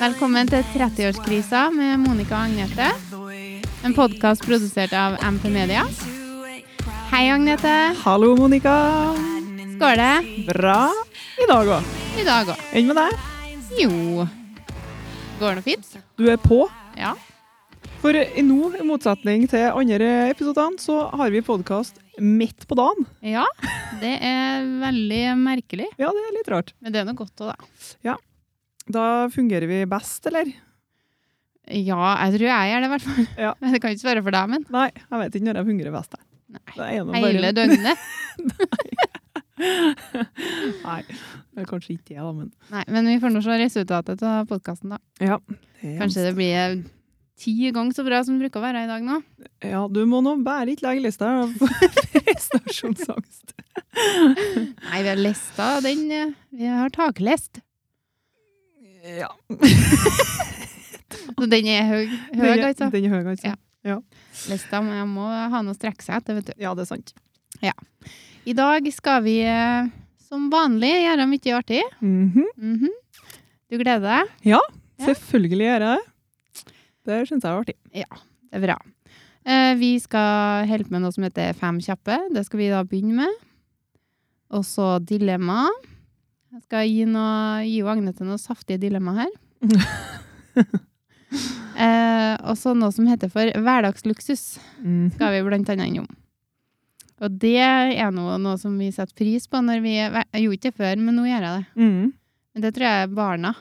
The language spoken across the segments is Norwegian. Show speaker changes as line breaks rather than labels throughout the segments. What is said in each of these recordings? Velkommen til 30-årskrisa med Monica og Agnete. En podkast produsert av MP Media. Hei, Agnete.
Hallo, Monica.
Skål det
Bra i dag òg.
i dag òg.
Enn med deg?
Jo Går det noe fint?
Du er på.
Ja.
For i nå, i motsetning til andre episodene, så har vi podkast midt på dagen.
Ja, det er veldig merkelig.
Ja, det er litt rart.
Men det er noe godt òg, da.
Da fungerer vi best, eller?
Ja, jeg tror jeg gjør det, i hvert fall.
Ja.
Men Det kan ikke svare for deg, men.
Nei, jeg vet ikke når jeg fungerer best. jeg.
Nei.
Det er nå
Hele døgnet.
Nei, det er kanskje ikke det, da, men
Nei, men vi får nå se resultatet av podkasten, da.
ja. det er-
Kanskje det blir ti ganger så bra som det bruker å være i dag nå.
Ja, du må nå bare ikke legge lista av prestasjonsangst.
Nei, vi har lesta den eh, Vi har taklest.
Ja.
Så Altså, den er høy, høy
Den er-
altså.
Den er høy, altså.
Ja. Lista må, jeg må ha noe å strekke seg etter, vet du.
Ja, det er sant.
I dag skal vi eh, som vanlig gjøre mye artig.
Mhm.
Mhm. Du gleder deg? Ja.
Selvfølgelig gjør jeg det. Det syns jeg er artig.
Det er bra. Eh, Vi skal holde på med noe som heter Fem kjappe. Det skal vi da begynne med. Og så dilemma. Jeg skal gi, noe, gi jo Agnete noen saftige dilemma her. eh, og så noe som heter for hverdagsluksus.
Mm.
skal vi blant annet innom. Og det er noe, noe som vi setter pris på når vi Jeg gjorde ikke det før, men nå gjør jeg det.
Mm.
Men det tror jeg er barna.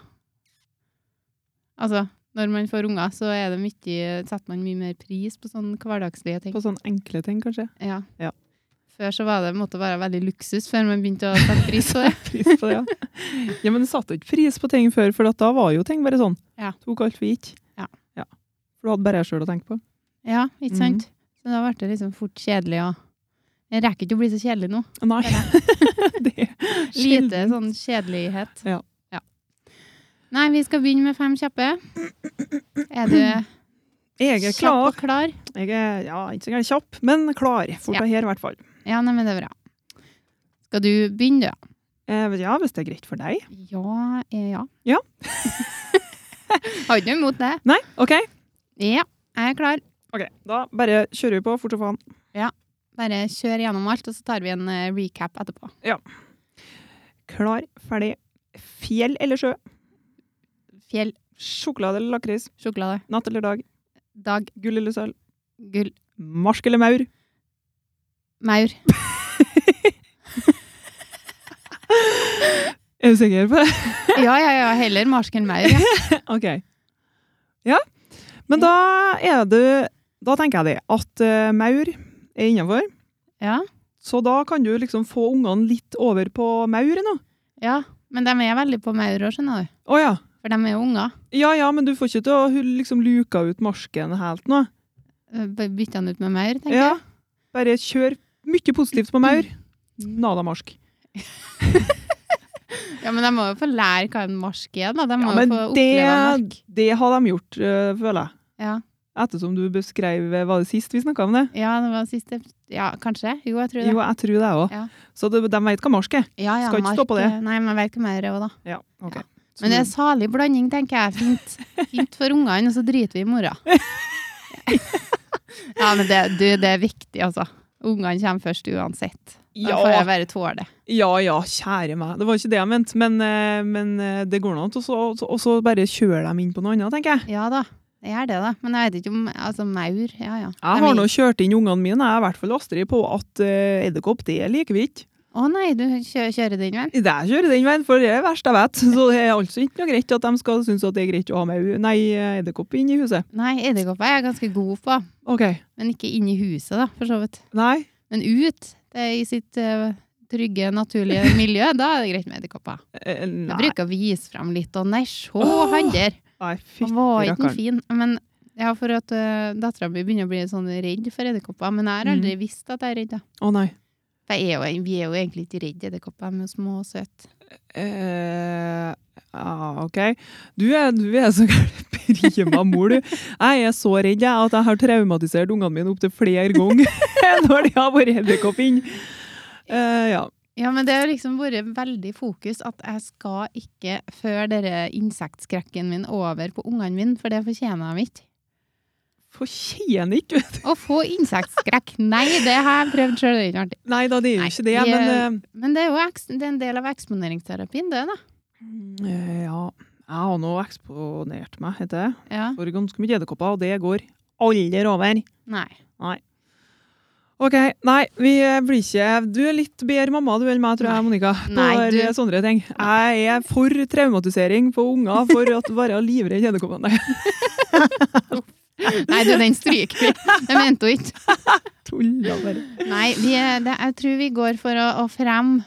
Altså, når man får unger, så er det mye, setter man mye mer pris på sånne hverdagslige ting.
På sånne enkle ting, kanskje.
Ja.
Ja.
Før så var det, måtte det være veldig luksus før man begynte å sette pris på det.
Pris på det, ja. ja, men du satte jo ikke pris på ting før, for at da var jo ting bare sånn.
Ja.
Tok alt vi gikk.
Ja.
For du hadde bare deg sjøl å tenke på.
Ja, ikke
Mhm.
sant? Så da ble det liksom fort kjedelig. Og jeg rekker ikke å bli så kjedelig nå.
Nei. det er sjelden.
Lite sånn kjedelighet.
Ja.
Nei, vi skal begynne med fem kjappe. Er du
Jeg er
kjapp
klar.
og klar?
Jeg er ja, ikke så gærent kjapp, men klar for
Ja.
det her, i hvert fall.
Ja, nei, men det er bra. Skal du begynne, du?
Eh, ja, hvis det er greit for deg.
Ja, eh, ja.
Ja.
Har ikke noe imot det.
Nei? OK.
Ja, jeg er klar.
Ok, Da bare kjører vi på fort som faen.
Bare kjør gjennom alt, og så tar vi en eh, recap etterpå.
Klar, ferdig. Fjell eller sjø?
Fjell,
Sjokolade eller lakris?
sjokolade,
Natt eller dag?
dag,
Gull eller sølv?
gull,
Marsk eller maur?
maur.
Er du sikker på det?
Ja, ja, ja, heller marsk enn maur. Ja.
OK. Ja. Men da er du Da tenker jeg det at eh, maur er innafor.
ja,
Så da kan du liksom få ungene litt over på maur nå.
ja. Men de er veldig på maur òg, skjønner du.
Å ja.
For de er jo unger.
Ja ja, men du får ikke til å hu- liksom luka ut marsken helt nå.
Eh, b- Bytte den ut med maur, tenker
Ja.
jeg.
Bare kjør mye positivt på maur.
Mm.
Nada marsk.
Ja, Men de må jo få lære hva en marsk er, da. De må
Ja,
jo
men
få oppleve mark.
det, det har de gjort, eh, føler jeg.
Ja.
Ettersom du beskrev eh, Var det sist vi snakka om det?
Ja, det var siste Ja, kanskje? Jo, jeg tror det.
Jo, jeg tror det òg.
Ja.
Så de, de veit hva marsk er.
ja, ja, eh,
skal ikke stå på det.
Nei, men jeg vet ikke mer det er også, da.
Ja, ok.
Ja. Men det er salig blanding, tenker jeg. Fint, Fint for ungene, og så driter vi i mora. Ja, men det, du, det er viktig, altså. Ungene kommer først uansett. Da får jeg
ja,
bare tåle det.
ja, ja, kjære meg. Det var ikke det jeg mente, men, eh, men eh, det går nå an. Og så- og så- og så bare kjøre dem inn på noe annet, tenker jeg.
Ja da, det er det, da. Men jeg vet ikke om Altså, maur, ja ja.
Jeg
Nei,
har
men-
nå kjørt inn ungene mine, jeg er i hvert fall Astrid, på at eh, edderkopp, det liker vi ikke.
Å nei, du kjø kjører den veien?
Det jeg kjører den veien, for det er det verste jeg vet. Så det er altså ikke noe greit at de skal synes at det er greit å ha med nei, eh, edderkopp inn i huset.
Nei, edderkopper er jeg ganske god på.
OK.
Men ikke inn i huset, da, for så vidt.
Nei.
Men ut, det er i sitt eh, trygge, naturlige miljø, da er det greit med edderkopper.
eh,
Jeg
Nei,
bruker å vise frem litt, og nei, se
Åh!
han der!
nei
Han var ikke
fytti rakkeren.
fin. Men ja, for at uh, dattera mi begynner å bli sånn redd for edderkopper. Men jeg har
Mm.
aldri visst at jeg er redd. da.
Å nei.
For jeg er jo, vi er jo egentlig ikke redd edderkopper, vi er jo små og søte.
Eh, ja, OK. Du er, du er så gæren prima mor, du. Jeg er så redd jeg, at jeg har traumatisert ungene mine opptil flere ganger når de har vært edderkopp inn. Eh, ja.
Ja, men det har liksom vært veldig fokus at jeg skal ikke føre denne insektskrekken min over på ungene mine, for det fortjener de ikke.
Fortjener ikke, vet du.
Å få insektskrekk, nei, det har jeg prøvd sjøl, det er ikke artig.
Nei da, det er
Nei,
jo ikke det,
de
men
er- Men det er jo eks- det er en del av eksponeringsterapien, det, da.
eh, ja. Jeg har nå eksponert meg, heter det.
Ja.
For ganske mye edderkopper, og det går aldri over.
Nei.
OK, nei, vi blir ikke Du er litt bedre mamma du enn meg, tror jeg, Monica. På
Nei, du-
der- sånne ting. Jeg er for traumatisering på unger for at være livredd edderkopper. Nei,
Nei, du, den stryker vi. Jeg mente jo ikke.
tulla bare.
Nei, vi er, det, jeg tror vi går for å, å fremme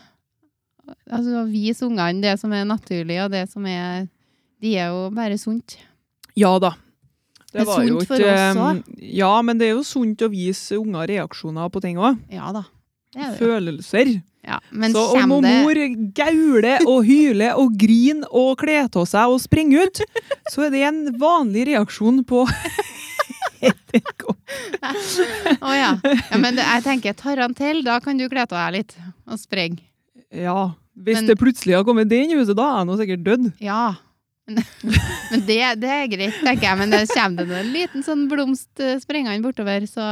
Altså å vise ungene det som er naturlig, og det som er De er jo bare sunt.
Ja da.
Det er sunt for oss
eh, Ja, men det er jo sunt å vise unger reaksjoner på ting òg.
Ja da. Det er det.
Følelser.
Ja, men
så om
kommer det
mor gauler og hyler og griner og kler av seg og springer ut, så er det en vanlig reaksjon på edderkopp.
Å ja. ja. Men det, jeg tenker tarantell, da kan du kle av deg litt og springe.
Ja, hvis
Men-
det plutselig har kommet det inn i huset, da er jeg nå sikkert dødd.
Ja. Men, men det, det er greit, tenker jeg. Men det kommer det nå en liten sånn blomst eh, springende bortover, så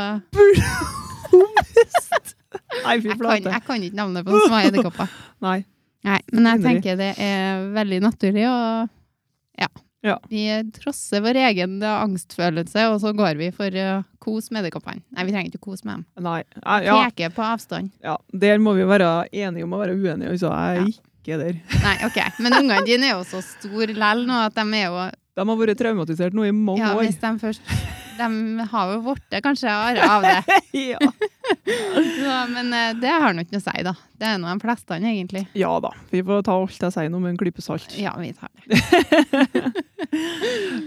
Nei, fy
jeg kan,
flate.
jeg kan ikke navnet på de små edderkoppene.
Nei.
Nei, men jeg
Innri.
tenker det er veldig naturlig, og ja.
Ja.
Vi trosser vår egen eh, angstfølelse, og så går vi for eh, kos med edderkoppene. Nei, vi trenger ikke kose med dem.
Nei. Ja, ja,
Peker på avstand.
ja, der må vi være enige om å være uenige. Altså, jeg er ikke der.
Nei, ok. Men ungene dine er jo så store lell nå at de er jo
De har vært traumatisert nå i mange
Ja,
år.
hvis de først De har jo blitt kanskje arre av det.
Ja.
Så, men eh, det har nå ikke noe å si, da. Det er nå de fleste, egentlig.
ja da. Vi får ta alt jeg sier nå med en klype salt.
Ja, vi tar det.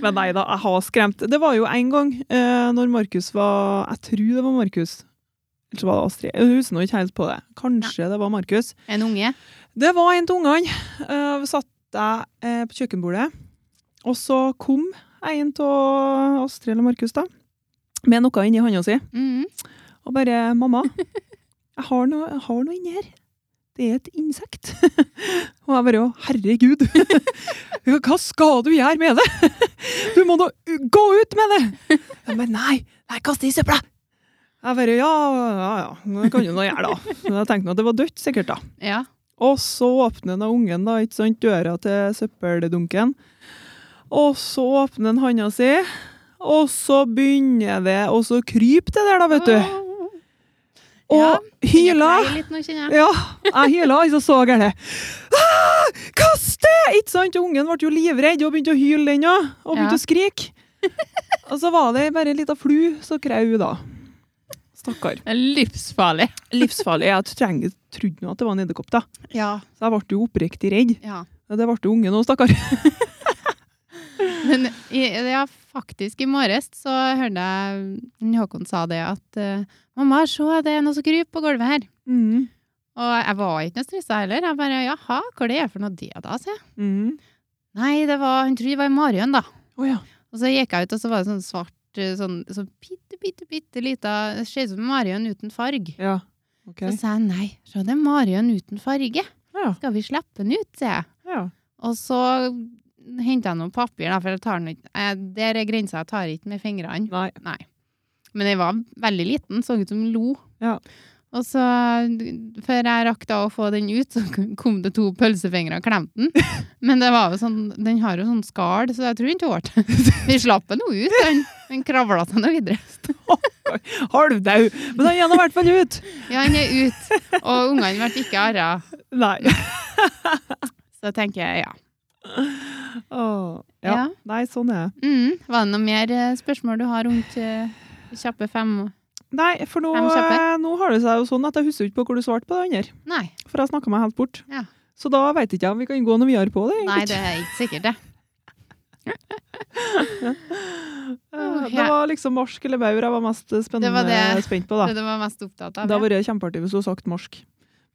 Men nei da, jeg har skremt. Det var jo en gang eh, når Markus var Jeg tror det var Markus. Eller så var det Astrid. Jeg husker nå ikke helt på det. Kanskje det var Markus.
En unge?
Det var en av ungene. Eh, vi satt jeg eh, på kjøkkenbordet, og så kom en av Astrid eller Markus da, med noe inni hånda si,
Mhm.
og bare 'Mamma, jeg har noe, jeg har noe inni her. Det er et insekt.' Og jeg bare 'Å, herregud, hva skal du gjøre med det? Du må nå u- gå ut med det!' Jeg bare 'Nei, nei, kast det i søpla'. Jeg bare 'Ja, ja, ja, det kan du nå gjøre, da'. Men jeg tenkte nå at det var dødt, sikkert, da.
Ja.
Og så åpner da ungen da, ikke sant, døra til søppeldunken. Og så åpner han handa si, og så begynner det å så krype det der, da, vet du.
Ja,
Og hyler.
Jeg litt nå, kjenner jeg.
Ja, jeg hyla, altså så gærent. Ah, Kast det! Ikke sant? Ungen ble jo livredd og begynte å hyle, den òg. Og
Ja.
begynte å skrike. Og så var det bare ei lita flu som krau, da. Stakkar.
Det er Livsfarlig.
Livsfarlig. Jeg trenger- trodde nå at det var en edderkopp, da.
Ja.
Så jeg ble jo oppriktig redd.
ja.
Ja, Det ble jo ungen òg, stakkar.
Men i, ja, faktisk, i morges så hørte jeg Håkon sa det at eh, 'Mamma, se, det er noe som kryper på gulvet her'.
Mm.
Og jeg var ikke noe stressa heller. Jeg bare 'jaha, hva det er for noe det da', sier jeg.
Mm.
Nei, det var, han trodde det var en marihøn, da.
Å ja.
Og så gikk jeg ut, og så var det sånn svart eh, sånn, sånn bitte, bitte, bitte lita Det ser ut som en marihøn uten farg.
Ja. Ok.
Så sa jeg nei, se det er marihøn uten farge.
Ja.
Skal vi slippe den ut, sier jeg.
Ja.
Og så henter jeg noe papir, da, for jeg tar den ikke eh, Der er grensa, jeg tar ikke med fingrene.
Nei.
Men den var veldig liten, så ut som en lo.
Ja.
Og så, før jeg rakk da å få den ut, så kom det to pølsefingre og klemte den. Men det var jo sånn, den har jo sånn skall, så jeg tror den tålte. Vi slapp den jo ut, den, den kravla seg nå videre.
Halvdau! Men han er nå i hvert fall ut!
Ja, den er ute, og ungene ble ikke arra.
Nei.
Så tenker jeg, ja.
Åh, ja.
Ja.
Nei, sånn er det.
Mm, var det noe mer eh, spørsmål du har rundt eh, kjappe fem?
Nei, for nå,
Fem kjappe.
eh, nå har det seg jo sånn at jeg husker ikke på hvor du svarte på det andre.
Nei,
For jeg snakka meg helt bort.
Ja.
Så da veit ikke jeg om vi kan gå noe videre på det.
nei, det er ikke sikkert det.
Eh,
Åh,
Det
ja.
var liksom marsk eller baur jeg var mest eh, spennende,
Det var det.
spent på.
Det
da.
du var mest opptatt
Det
av.
hadde
ja.
vært kjempeartig hvis du hadde sagt marsk.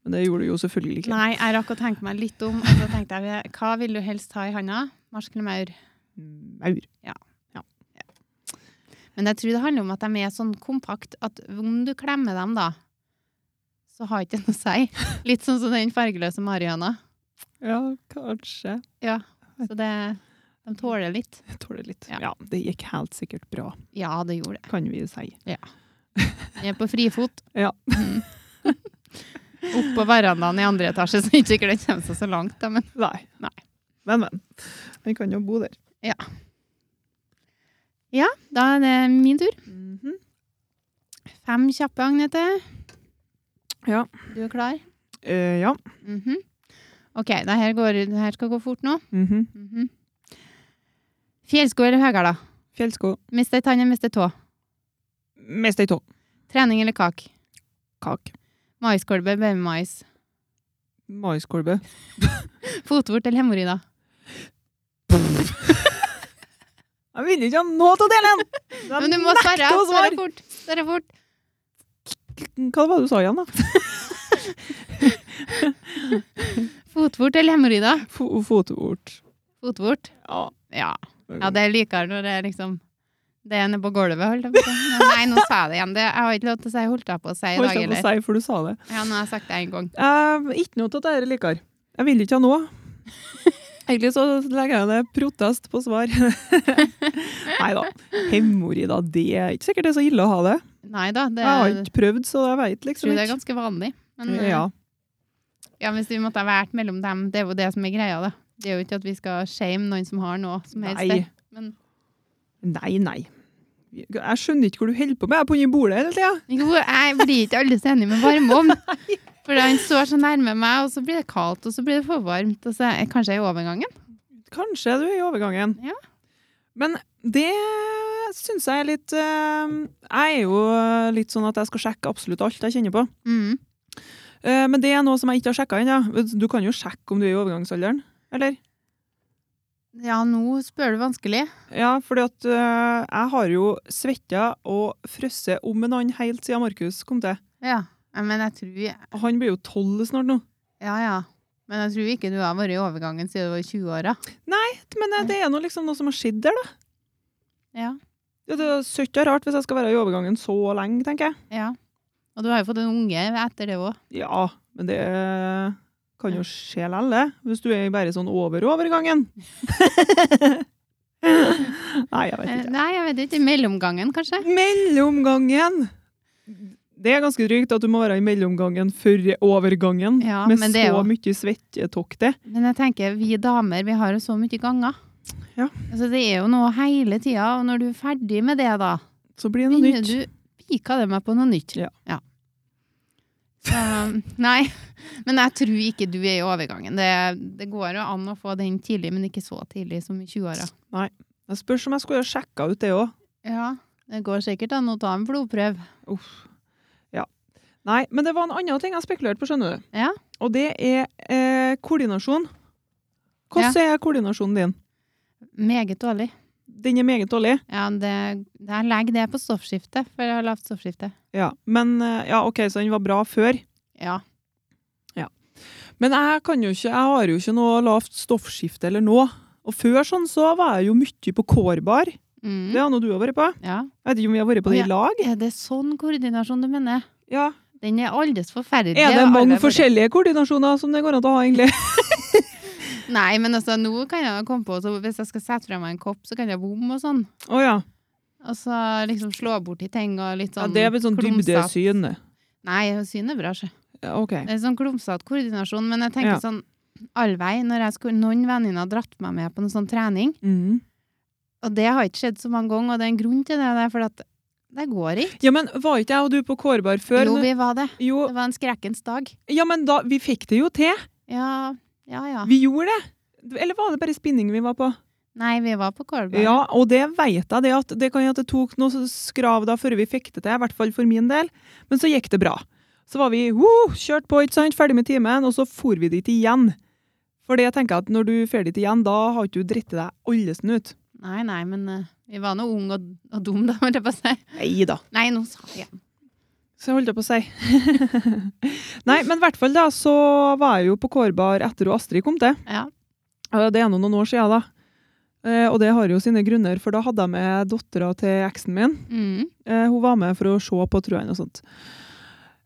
Men det gjorde du jo selvfølgelig ikke.
Nei, jeg rakk å tenke meg litt om, og så tenkte jeg, hva vil du helst ha i handa? Marsk eller maur?
Maur.
Men jeg tror det handler om at de er sånn kompakt, at om du klemmer dem da, så så har ikke det noe å si. Litt sånn som den fargeløse marihuana.
Ja, kanskje.
Så det, de tåler litt.
Jeg tåler litt.
Ja.
Ja. det gikk helt sikkert bra,
Ja, det gjorde det.
kan vi jo si.
Jeg er på frifot.
Ja.
Mm. Opp på verandaen i andre etasje, så ikke det kommer seg så langt. Da, men.
Nei.
Nei.
Men, men. Vi kan jo bo der.
da er det min tur. Mhm. Fem kjappe, Agnete.
Ja.
Du er klar?
Eh, ja.
Mhm. OK, det her, går, det her skal gå fort nå.
Mhm.
Mhm. Fjellsko eller høgæla?
Fjellsko.
Miste ei tann eller miste tå?
Mest ei tå.
Trening eller kak?
Kak.
Maiskolbe, babymais?
Maiskolbe.
Fotvort eller hemoroider?
Jeg vil ikke ha noe av delen!
Men du må svare!
å
Svare
svare.
fort! Svare fort.
Hva var det du sa igjen, da?
Fotvort eller hemoroider?
Fo- Fotvort.
Fotvort.
Ja.
Ja. ja, det er likere når det er liksom det ene på gulvet, holdt jeg på å si. Men Nei, nå sa jeg det igjen. Det, jeg har ikke lov til å si holdt jeg på å si i
Holdt
dag,
jeg på
eller?
å si, for du sa det.
Ja, nå har jeg sagt det en gang.
Eh, ikke noe av dette liker. Jeg vil ikke ha noe. Egentlig så legger jeg ned protest på svar. Nei da. Hemoroider, det er ikke sikkert det er så ille å ha det.
Nei da, det
Jeg har
jeg
ikke prøvd, så jeg veit liksom
tror det er
ikke.
ganske vanlig. Men eh,
Ja.
Ja, hvis vi måtte ha vært mellom dem, det er jo det som er greia, da. Det er jo ikke at vi skal shame noen som har noe som helst.
Nei.
det. Men
Nei, nei. Jeg skjønner ikke hvor du holder på med. Jeg er på under bordet hele tida.
jo, jeg blir ikke alle så enig med varmeovn. For han står så nærme meg, og så blir det kaldt, og så blir det for varmt. Og så er, kanskje jeg er i overgangen?
Kanskje du er i overgangen.
Ja.
Men det syns jeg er litt eh, Jeg er jo litt sånn at jeg skal sjekke absolutt alt jeg kjenner på.
Mm.
Eh, Men det er noe som jeg ikke har sjekka ennå. Du kan jo sjekke om du er i overgangsalderen, eller?
Ja, nå spør du vanskelig.
Ja, fordi at eh, jeg har jo svetta og frosset om en annen helt siden Markus kom til.
Ja, Ja, men jeg tror
Og Han blir jo tolv snart nå.
Ja, ja. Men jeg tror ikke du har vært i overgangen siden du var i 20-åra.
Men eh, det er nå liksom noe som har skjedd der, da.
Ja.
Det det er søtt og rart hvis jeg skal være i overgangen så lenge, tenker jeg.
ja. Og du har jo fått en unge etter det òg.
Ja, men det eh, kan jo skje likevel, det. Hvis du er bare sånn over overgangen. Nei, jeg vet ikke.
Eh, Nei, jeg vet ikke. I mellomgangen, kanskje?
Mellomgangen! Det er ganske drygt at du må være i mellomgangen før overgangen,
Ja,
med
men det er
så
jo-
mye svettetokter.
Men jeg tenker, vi damer, vi har jo så mye ganger.
Ja.
Altså, det er jo noe hele tida, og når du er ferdig med det, da,
Så blir det noe
begynner
nytt.
du Pika det meg på noe nytt?
Ja.
Så, nei, men jeg tror ikke du er i overgangen. Det, det går jo an å få den tidlig, men ikke så tidlig som i 20-åra.
Jeg spørs om jeg skulle ha sjekka ut det òg.
Ja, det går sikkert an å ta en blodprøve.
Nei, men det var en annen ting jeg spekulerte på, skjønner du.
Ja.
Og det er eh, koordinasjon. Hvordan er koordinasjonen din?
Meget dårlig.
Den er meget dårlig.
Ja, det, jeg legger det på stoffskiftet, for jeg har lavt stoffskifte.
Ja, men eh, ja, OK, så den var bra før.
Ja.
Men jeg kan jo ikke, jeg har jo ikke noe lavt stoffskifte eller nå. Og før sånn så var jeg jo mye på kårbar. Det
Mm.
har nå du har vært på.
ja.
Jeg vet ikke om vi har vært på det
Å,
i lag.
Er det sånn koordinasjon du mener?
Ja.
Den er aldeles forferdelig.
Er
og
det
alle
mange
bare-
forskjellige koordinasjoner som det går an å ha, egentlig?
Nei, men altså, nå kan jeg komme på så Hvis jeg skal sette fra meg en kopp, så kan jeg bomme og sånn.
Å ja.
Og så liksom slå bort i ting og litt
ja.
sånn
Det er vel sånn
klumsete-
dybdesyn.
Nei, syn er bra, sjø.
Ja, OK.
Det er sånn klumsete koordinasjon, men jeg tenker
Ja.
sånn all vei. Når jeg skulle, noen venninner har dratt meg med på noe sånn trening,
Mm.
og det har ikke skjedd så mange ganger, og det er en grunn til det, det er fordi at det går ikke.
Ja, men var ikke jeg og du på kårbar før?
Jo, vi var det.
Jo,
Det var en skrekkens dag.
ja, men da, vi fikk det jo til.
Ja, ja, ja.
Vi gjorde det. Eller var det bare spinning vi var på?
Nei, vi var på Kolberg.
Ja, og det vet jeg, det at det kan jo at det tok noe skrav da før vi fikk det til, i hvert fall for min del. Men så gikk det bra. Så var vi woo, kjørt på, ikke sant, ferdig med timen, og så for vi dit igjen. For det jeg tenker at når du fer dit igjen, da har ikke du dritt deg allesen ut.
Nei, nei, men eh, vi var nå unge og, og dumme, da, holdt jeg på å si.
Nei da.
Nei, nå sa jeg igjen.
Så jeg holdt jeg på å si. Nei, men i hvert fall da, så var jeg jo på Kårbar etter at Astrid kom til.
Ja.
Eh, Det er nå noen år siden da. Eh, Og det har jo sine grunner, for da hadde jeg med dottera til eksen min.
Mm.
Eh, hun var med for å se på, tror jeg, noe sånt. Eh,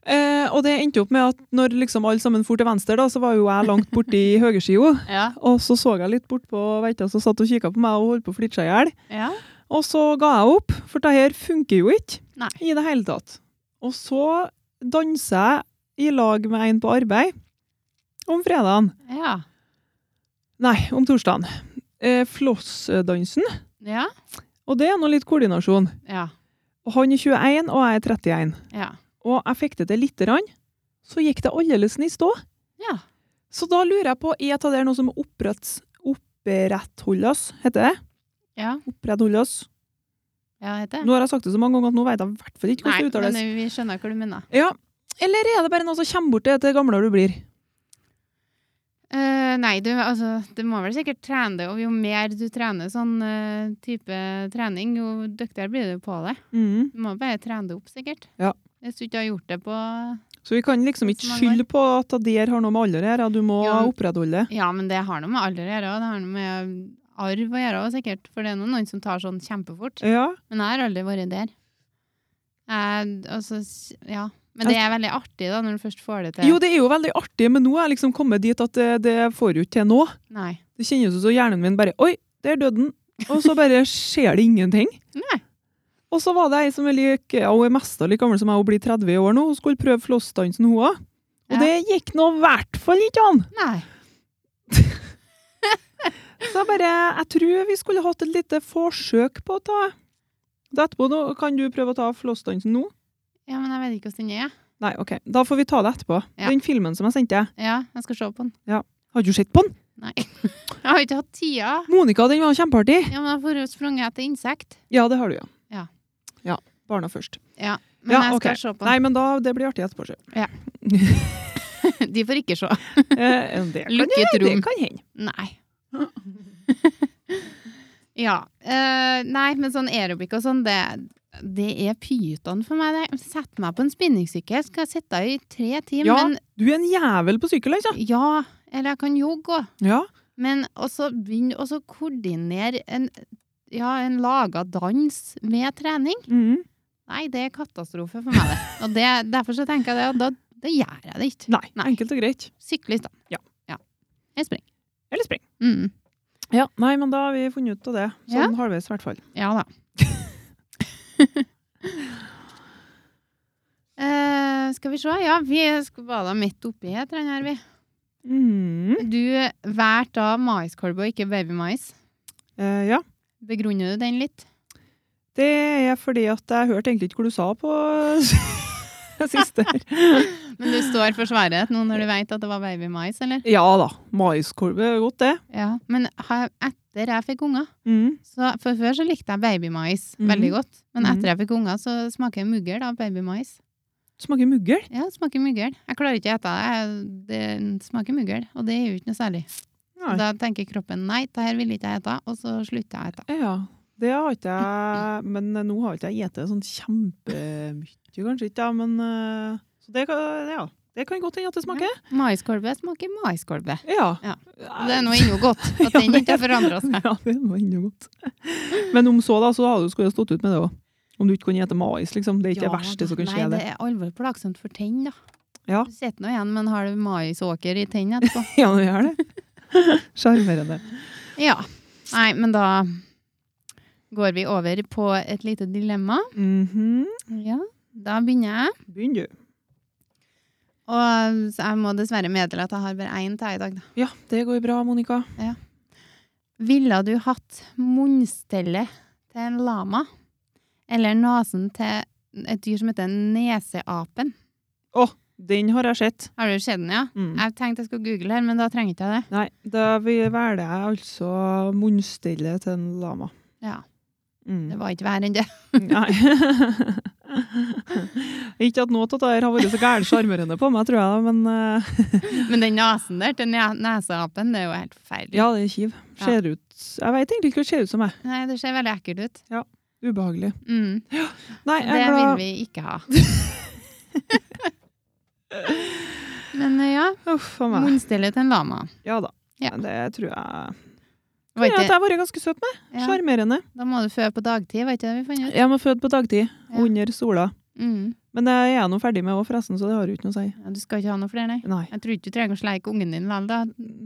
Eh, og det endte opp med at når liksom alle sammen for til venstre, da, så var jo jeg langt borti høyreskia.
Ja.
Og så så jeg litt bort på veita som satt og kikka på meg og holdt på å flirte seg i hjel.
ja.
Og så ga jeg opp, for det her funker jo ikke
Nei.
i det hele tatt. Og så danser jeg i lag med en på arbeid om fredagen.
Ja.
Nei, om torsdagen. Eh, Flossdansen.
Ja.
Og det er nå litt koordinasjon.
Ja.
Og Han er 21, og jeg er 31.
Ja.
Og jeg fikk det til lite grann. Så gikk det aldeles i stå.
Ja.
Så da lurer jeg på, er det der noe som opprettholdes? Opprettholdes, heter det?
Ja,
Opprettholdes.
ja heter det.
Nå har jeg sagt det så mange ganger at nå vet jeg i hvert fall ikke
Nei,
hvordan det uttales.
men vi skjønner hva du mener.
Ja. Eller er det bare noe som kommer bort til etter gamlere du blir?
Eh, nei, du, altså, du må vel sikkert trene det, og jo mer du trener sånn eh, type trening, jo dyktigere blir du på det.
Mhm.
Du må bare trene det opp, sikkert.
Ja.
Hvis du ikke har gjort det på
Så vi kan liksom ikke skylde på at det der har noe med alder å gjøre. Du må
Ja.
opprettholde.
Ja, men det har noe med alder å gjøre, og det har noe med arv å gjøre òg, sikkert. For det er noen, noen som tar sånn kjempefort.
Ja.
Men jeg har aldri vært der. Jeg, altså, ja. Men det er veldig artig, da, når du først får det til.
Jo, det er jo veldig artig, men nå er jeg liksom kommet dit at det, det får du ikke til nå.
Nei.
Det kjennes ut som hjernen min bare Oi, der døde den! Og så bare skjer det ingenting.
Nei.
Og så var det ei som er lik, ja, hun er mest like gammel som meg, hun blir 30 i år nå. Hun skulle prøve flossdansen, hun òg. Og
Ja.
det gikk nå i hvert fall ikke an!
Nei.
Så jeg bare Jeg tror vi skulle hatt et lite forsøk på å ta det etterpå. Nå kan du prøve å ta flossdansen nå?
Ja, men jeg vet ikke hvordan den er.
Nei, OK. Da får vi ta det etterpå.
Ja.
Den filmen som jeg sendte,
Ja, jeg skal se på den.
har du sett på den?
Nei. Jeg har ikke hatt tida.
Monica, den var kjempeartig!
Ja, men jeg får jo sprunget etter insekt.
Ja, det har du, ja.
Ja.
Ja, Barna først.
Ja, men
Ja,
jeg skal
ok.
se på
Nei, men da, det blir artig etterpå. sjø.
Ja. den. De får ikke se.
Eh, det kan
Lukket
Det
rom.
kan hende.
Nei. ja. eh, nei, men sånn aerobic og sånn, det, det er pyton for meg. det. Sett meg på en spinningsykkel, skal jeg sitte i tre timer.
Ja.
Men
Du er en jævel på sykkel, altså.
ja, eller jeg kan jogge òg.
Ja.
Men også begynne å så koordinere en, ja, en laga dans med trening.
Mhm.
Nei, det er katastrofe for meg. det. Og det, derfor så tenker jeg det, og da, da gjør jeg det ikke.
Nei,
Nei.
enkelt og greit.
Sykle i stedet.
Ja.
Jeg springer.
Eller spring.
Mm.
Ja, nei, men da har vi funnet ut av det. Sånn halvveis, i hvert fall.
Ja da. Eh, skal vi se. Ja, vi sk- var da midt oppi et eller annet her, vi.
Mhm.
Du valgte da maiskolbe og ikke babymais.
Eh, ja.
Begrunner du den litt?
Det er fordi at jeg hørte egentlig ikke hva du sa på siste her.
Men du står for svaret nå når du vet at det var babymais, eller?
Ja da. Maiskolbe er godt, det.
Ja. Men har- etter jeg fikk unger
Mhm.
så For før så likte jeg babymais
Mhm.
veldig godt. Men
Mhm.
etter jeg fikk unger, så smaker muggel av babymais.
Smaker muggel.
Ja, det smaker muggel. Jeg klarer ikke å ete det. Jeg- Det smaker muggel, og det er jo ikke noe særlig.
Nei.
Da tenker kroppen nei, det her vil ikke jeg ete, og så slutter jeg å ete.
Ja. Det har ikke jeg Men eh, nå har ikke jeg spist sånn kjempemye, kanskje ikke, ja, men eh, Så det kan, ja. det kan godt hende at det smaker.
Maiskolbe smaker maiskolbe.
Ja.
Ja. Det er nå ennå godt at
Ja,
den
det-
ikke har forandra seg.
Ja, det var ennå godt. Men om så, da, så hadde du skulle jeg stått ut med det òg. Om du ikke kunne spise mais, liksom. Det er ikke det verste som kan skje.
Nei,
det.
det er alvor plagsomt for tenn, da.
Ja.
Du sitter nå igjen med en halv maisåker i tenn etterpå.
Ja, det gjør det. Sjarmerende.
ja. Nei, men da går vi over på et lite dilemma.
Mhm.
Ja. Da begynner jeg.
Begynn, du.
Og så jeg må dessverre meddele at jeg har bare én til i dag, da.
Ja, det går bra, Monica.
Ville du hatt munnstellet til en lama? Eller nesen til et dyr som heter neseapen?
Den har jeg sett.
Har du sett den, ja?
Mm.
Jeg tenkte jeg skulle google her, men da trenger ikke jeg det.
Nei, da vil- velger jeg altså munnstellet til en lama.
Ja,
Mm.
Det var ikke verre enn det.
Nei. ikke at noe av det her har vært så gæren sjarmerende på meg, tror jeg, men eh,
Men den nesen der til ne- neseapen, det er jo helt forferdelig.
ja, det er kiv. Ser ut Jeg vet egentlig ikke hva det ser ut som, jeg.
Nei, det ser veldig ekkelt ut.
Ubehagelig.
Mm.
Nei, jeg
Det
er
vil
glad.
vi ikke ha. Men eh, ja,
Uff a meg.
munnstellet til en lama.
Ja da.
Ja.
Det tror jeg
Var
Ja, at
ikke,
jeg har vært ganske søt med.
ja,
Sjarmerende.
da må du føde på dagtid, var ikke det vi fant ut?
Jeg må føde på dagtid.
Ja.
Under sola.
Mm.
Men eh, jeg er nå ferdig med òg, forresten, så det har jo ikke noe å si.
Ja, du skal ikke ha noe flere, nei?
Nei.
Jeg tror ikke du trenger å sleike ungen din likevel, da.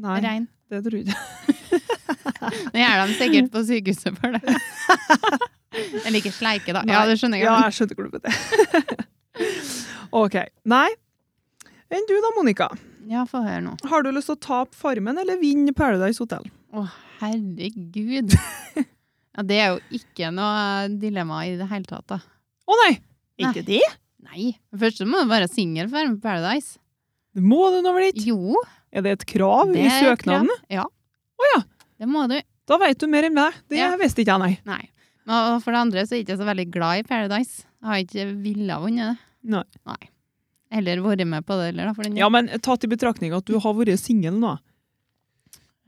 Nei,
Rein.
det tror jeg ikke.
Nå gjør de sikkert på sykehuset for det. Eller ikke sleike, da. Ja,
Nei.
det skjønner jeg.
Ja, jeg skjønner hvor du vil det. OK. Nei. Enn du da, Monica?
Ja, få høre nå.
Har du lyst til å tape Farmen eller vinne Paradise Hotel?
Å, herregud. Ja, det er jo ikke noe dilemma i det hele tatt, da.
Å nei!
Ikke
det?
Nei. Først så må du være singel for å være med på Paradise.
Må du nå vel ikke?
Jo.
Er det et krav
det
i
er et krav.
søknaden?
Ja.
Å ja.
Det må du.
Da veit du mer enn meg. Det
Ja.
visste ikke jeg, nei.
Nei. Men, Og for det andre så er jeg ikke så veldig glad i Paradise. Jeg har ikke villa vunnet det.
Nei.
Eller vært med på det, eller da. For den
Ja, men tatt i betraktning at du har vært singel nå.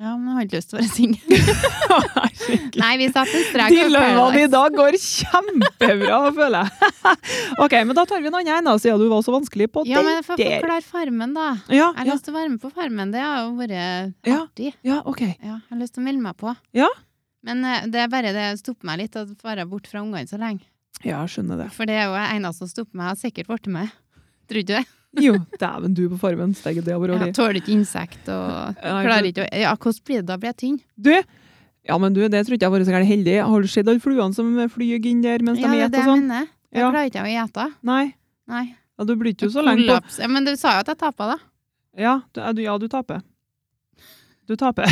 Ja, men jeg har ikke lyst til å være singel.
Herregud.
Nei, vi satte en strek over
Dilemmaen i
Paradise.
dag går kjempebra, føler jeg. OK, men da tar vi en annen en, da, siden du var så vanskelig på
Ja,
den
men for å
der.
forklare Farmen, da.
Ja,
Jeg har
ja,
lyst til å være med på Farmen. Det har jo vært
Ja.
artig.
ja, OK.
Ja, jeg har lyst til å melde meg på.
Ja.
Men eh, det er bare det stopper meg litt å være bort fra ungene så lenge.
Ja, jeg skjønner det.
For det er jo en av som stopper meg, har sikkert blitt med. Tror du ikke det?
Jo, dæven, du på Farmen. Steget, det har vært
Ja,
artig.
tåler ikke insekt og
Nei,
klarer ikke å Ja, hvordan blir det da? Blir jeg tynn?
Du, ja, men du, det tror ikke jeg har vært så gærent heldig. Har du sett alle fluene som flyr inn der mens
Ja,
de
det er
spiser
det
og
jeg
sånn?
mener. Da
Ja.
klarer ikke jeg å gjete.
Nei.
Nei.
Ja, du blir ikke så lenge på
Kollaps. Ja, men du sa jo at jeg tappa, da.
Ja, du, ja, du, ja, du taper. Du taper.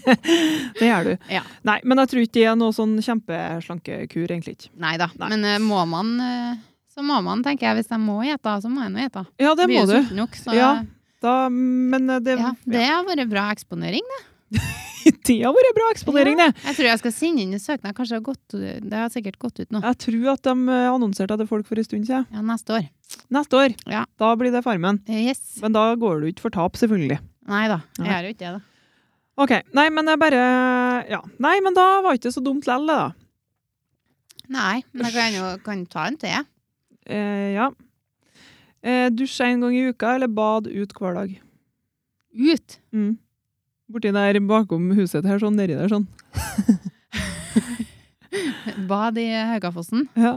det gjør du.
Ja.
Nei, men jeg tror ikke det er noe sånn kjempeslankekur, egentlig ikke.
Nei da.
Nei.
Men eh, må man, eh, så må man, tenker jeg. Hvis jeg må gjete, så må jeg nå gjete.
Ja, det må
Blir
du.
jo sulten Nok, så, ja,
Ja, Da, men eh, det,
det har vært bra eksponering. da.
ja, det har vært bra eksponering, det.
Jeg tror jeg skal sende inn en søknad. Kanskje det har gått, det har sikkert gått ut nå.
Jeg tror at de eh, annonserte det folk for en stund siden.
Ja, neste år.
Neste år,
Ja.
da blir det Farmen.
Eh, Yes.
Men da går du ikke for tap, selvfølgelig.
Nei da. Jeg
Nei.
gjør jo ikke det, da.
OK. Nei, men jeg bare Ja. Nei, men da var ikke det så dumt lell, det, da.
Nei, men jeg kan jo kan ta en til.
Eh, ja. Eh, dusj en gang i uka, eller bad ut hver dag?
Ut!
Mm. Borti der bakom huset her, sånn nedi der, sånn.
Bad i Haugafossen.
Ja.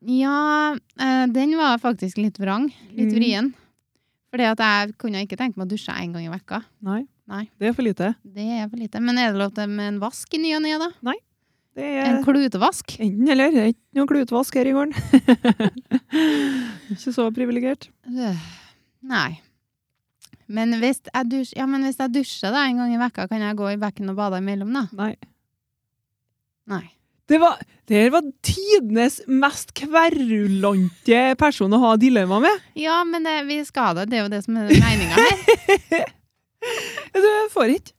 Ja, eh, den var faktisk litt vrang. Litt
Mm.
vrien. Fordi at jeg kunne ikke tenkt meg å dusje én gang i vekka.
Nei.
Nei.
Det er for lite.
Det er for lite. Men er det lov til med en vask i ny og ne, da?
Det
En
er
klutevask?
enten eller. Det er ikke noe klutvask her i gården. ikke så privilegert.
Øh, Nei. Men hvis jeg, dusj, ja, men hvis jeg dusjer da, en gang i vekka, kan jeg gå i bekken og bade imellom, da?
Nei.
Nei.
Det var, det her var tidenes mest kverulante person å ha dilemma med.
Ja, men det, vi skal det. Det er jo det som er meninga her.
Du får ikke.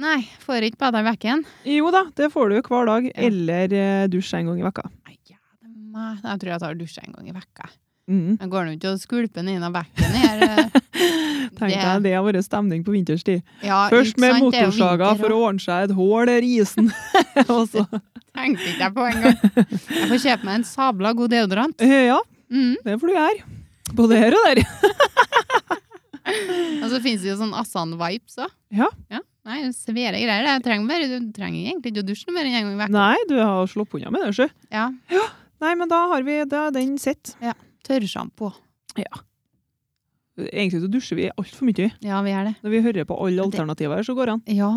Nei, får ikke bada i bekken.
Jo da, det får du hver dag, eller eh, dusj en gang i vekka.
Nei, jævlig meg. Jeg tror jeg tar dusj en gang i vekka.
Mm.
Jeg går nå ikke og skulper ned av bekken her. eh.
Tenk deg, det har vært stemning på vinterstid.
Ja,
Først
ikke
med
sant, det er jo
motorsaga
vinter
for å ordne seg et hull der i isen. Og så-
også. Tenkte ikke jeg på engang. Jeg får kjøpe meg en sabla god deodorant.
Eh, ja,
Mm.
det får du gjøre. Både her og der.
Og så finnes det jo sånn Assan-vibes òg.
Ja.
Nei, svære greier. Jeg trenger bare, du trenger egentlig ikke å dusje noe mer enn en gang i vekka.
Nei, du har slått unna med det, sjø.
Ja.
Nei, men da har vi da er den sett.
Tørrsjampo.
Egentlig så dusjer vi altfor mye.
Ja, vi gjør det.
Når vi hører på alle
Det-
alternativer, her, så går det an.
Ja.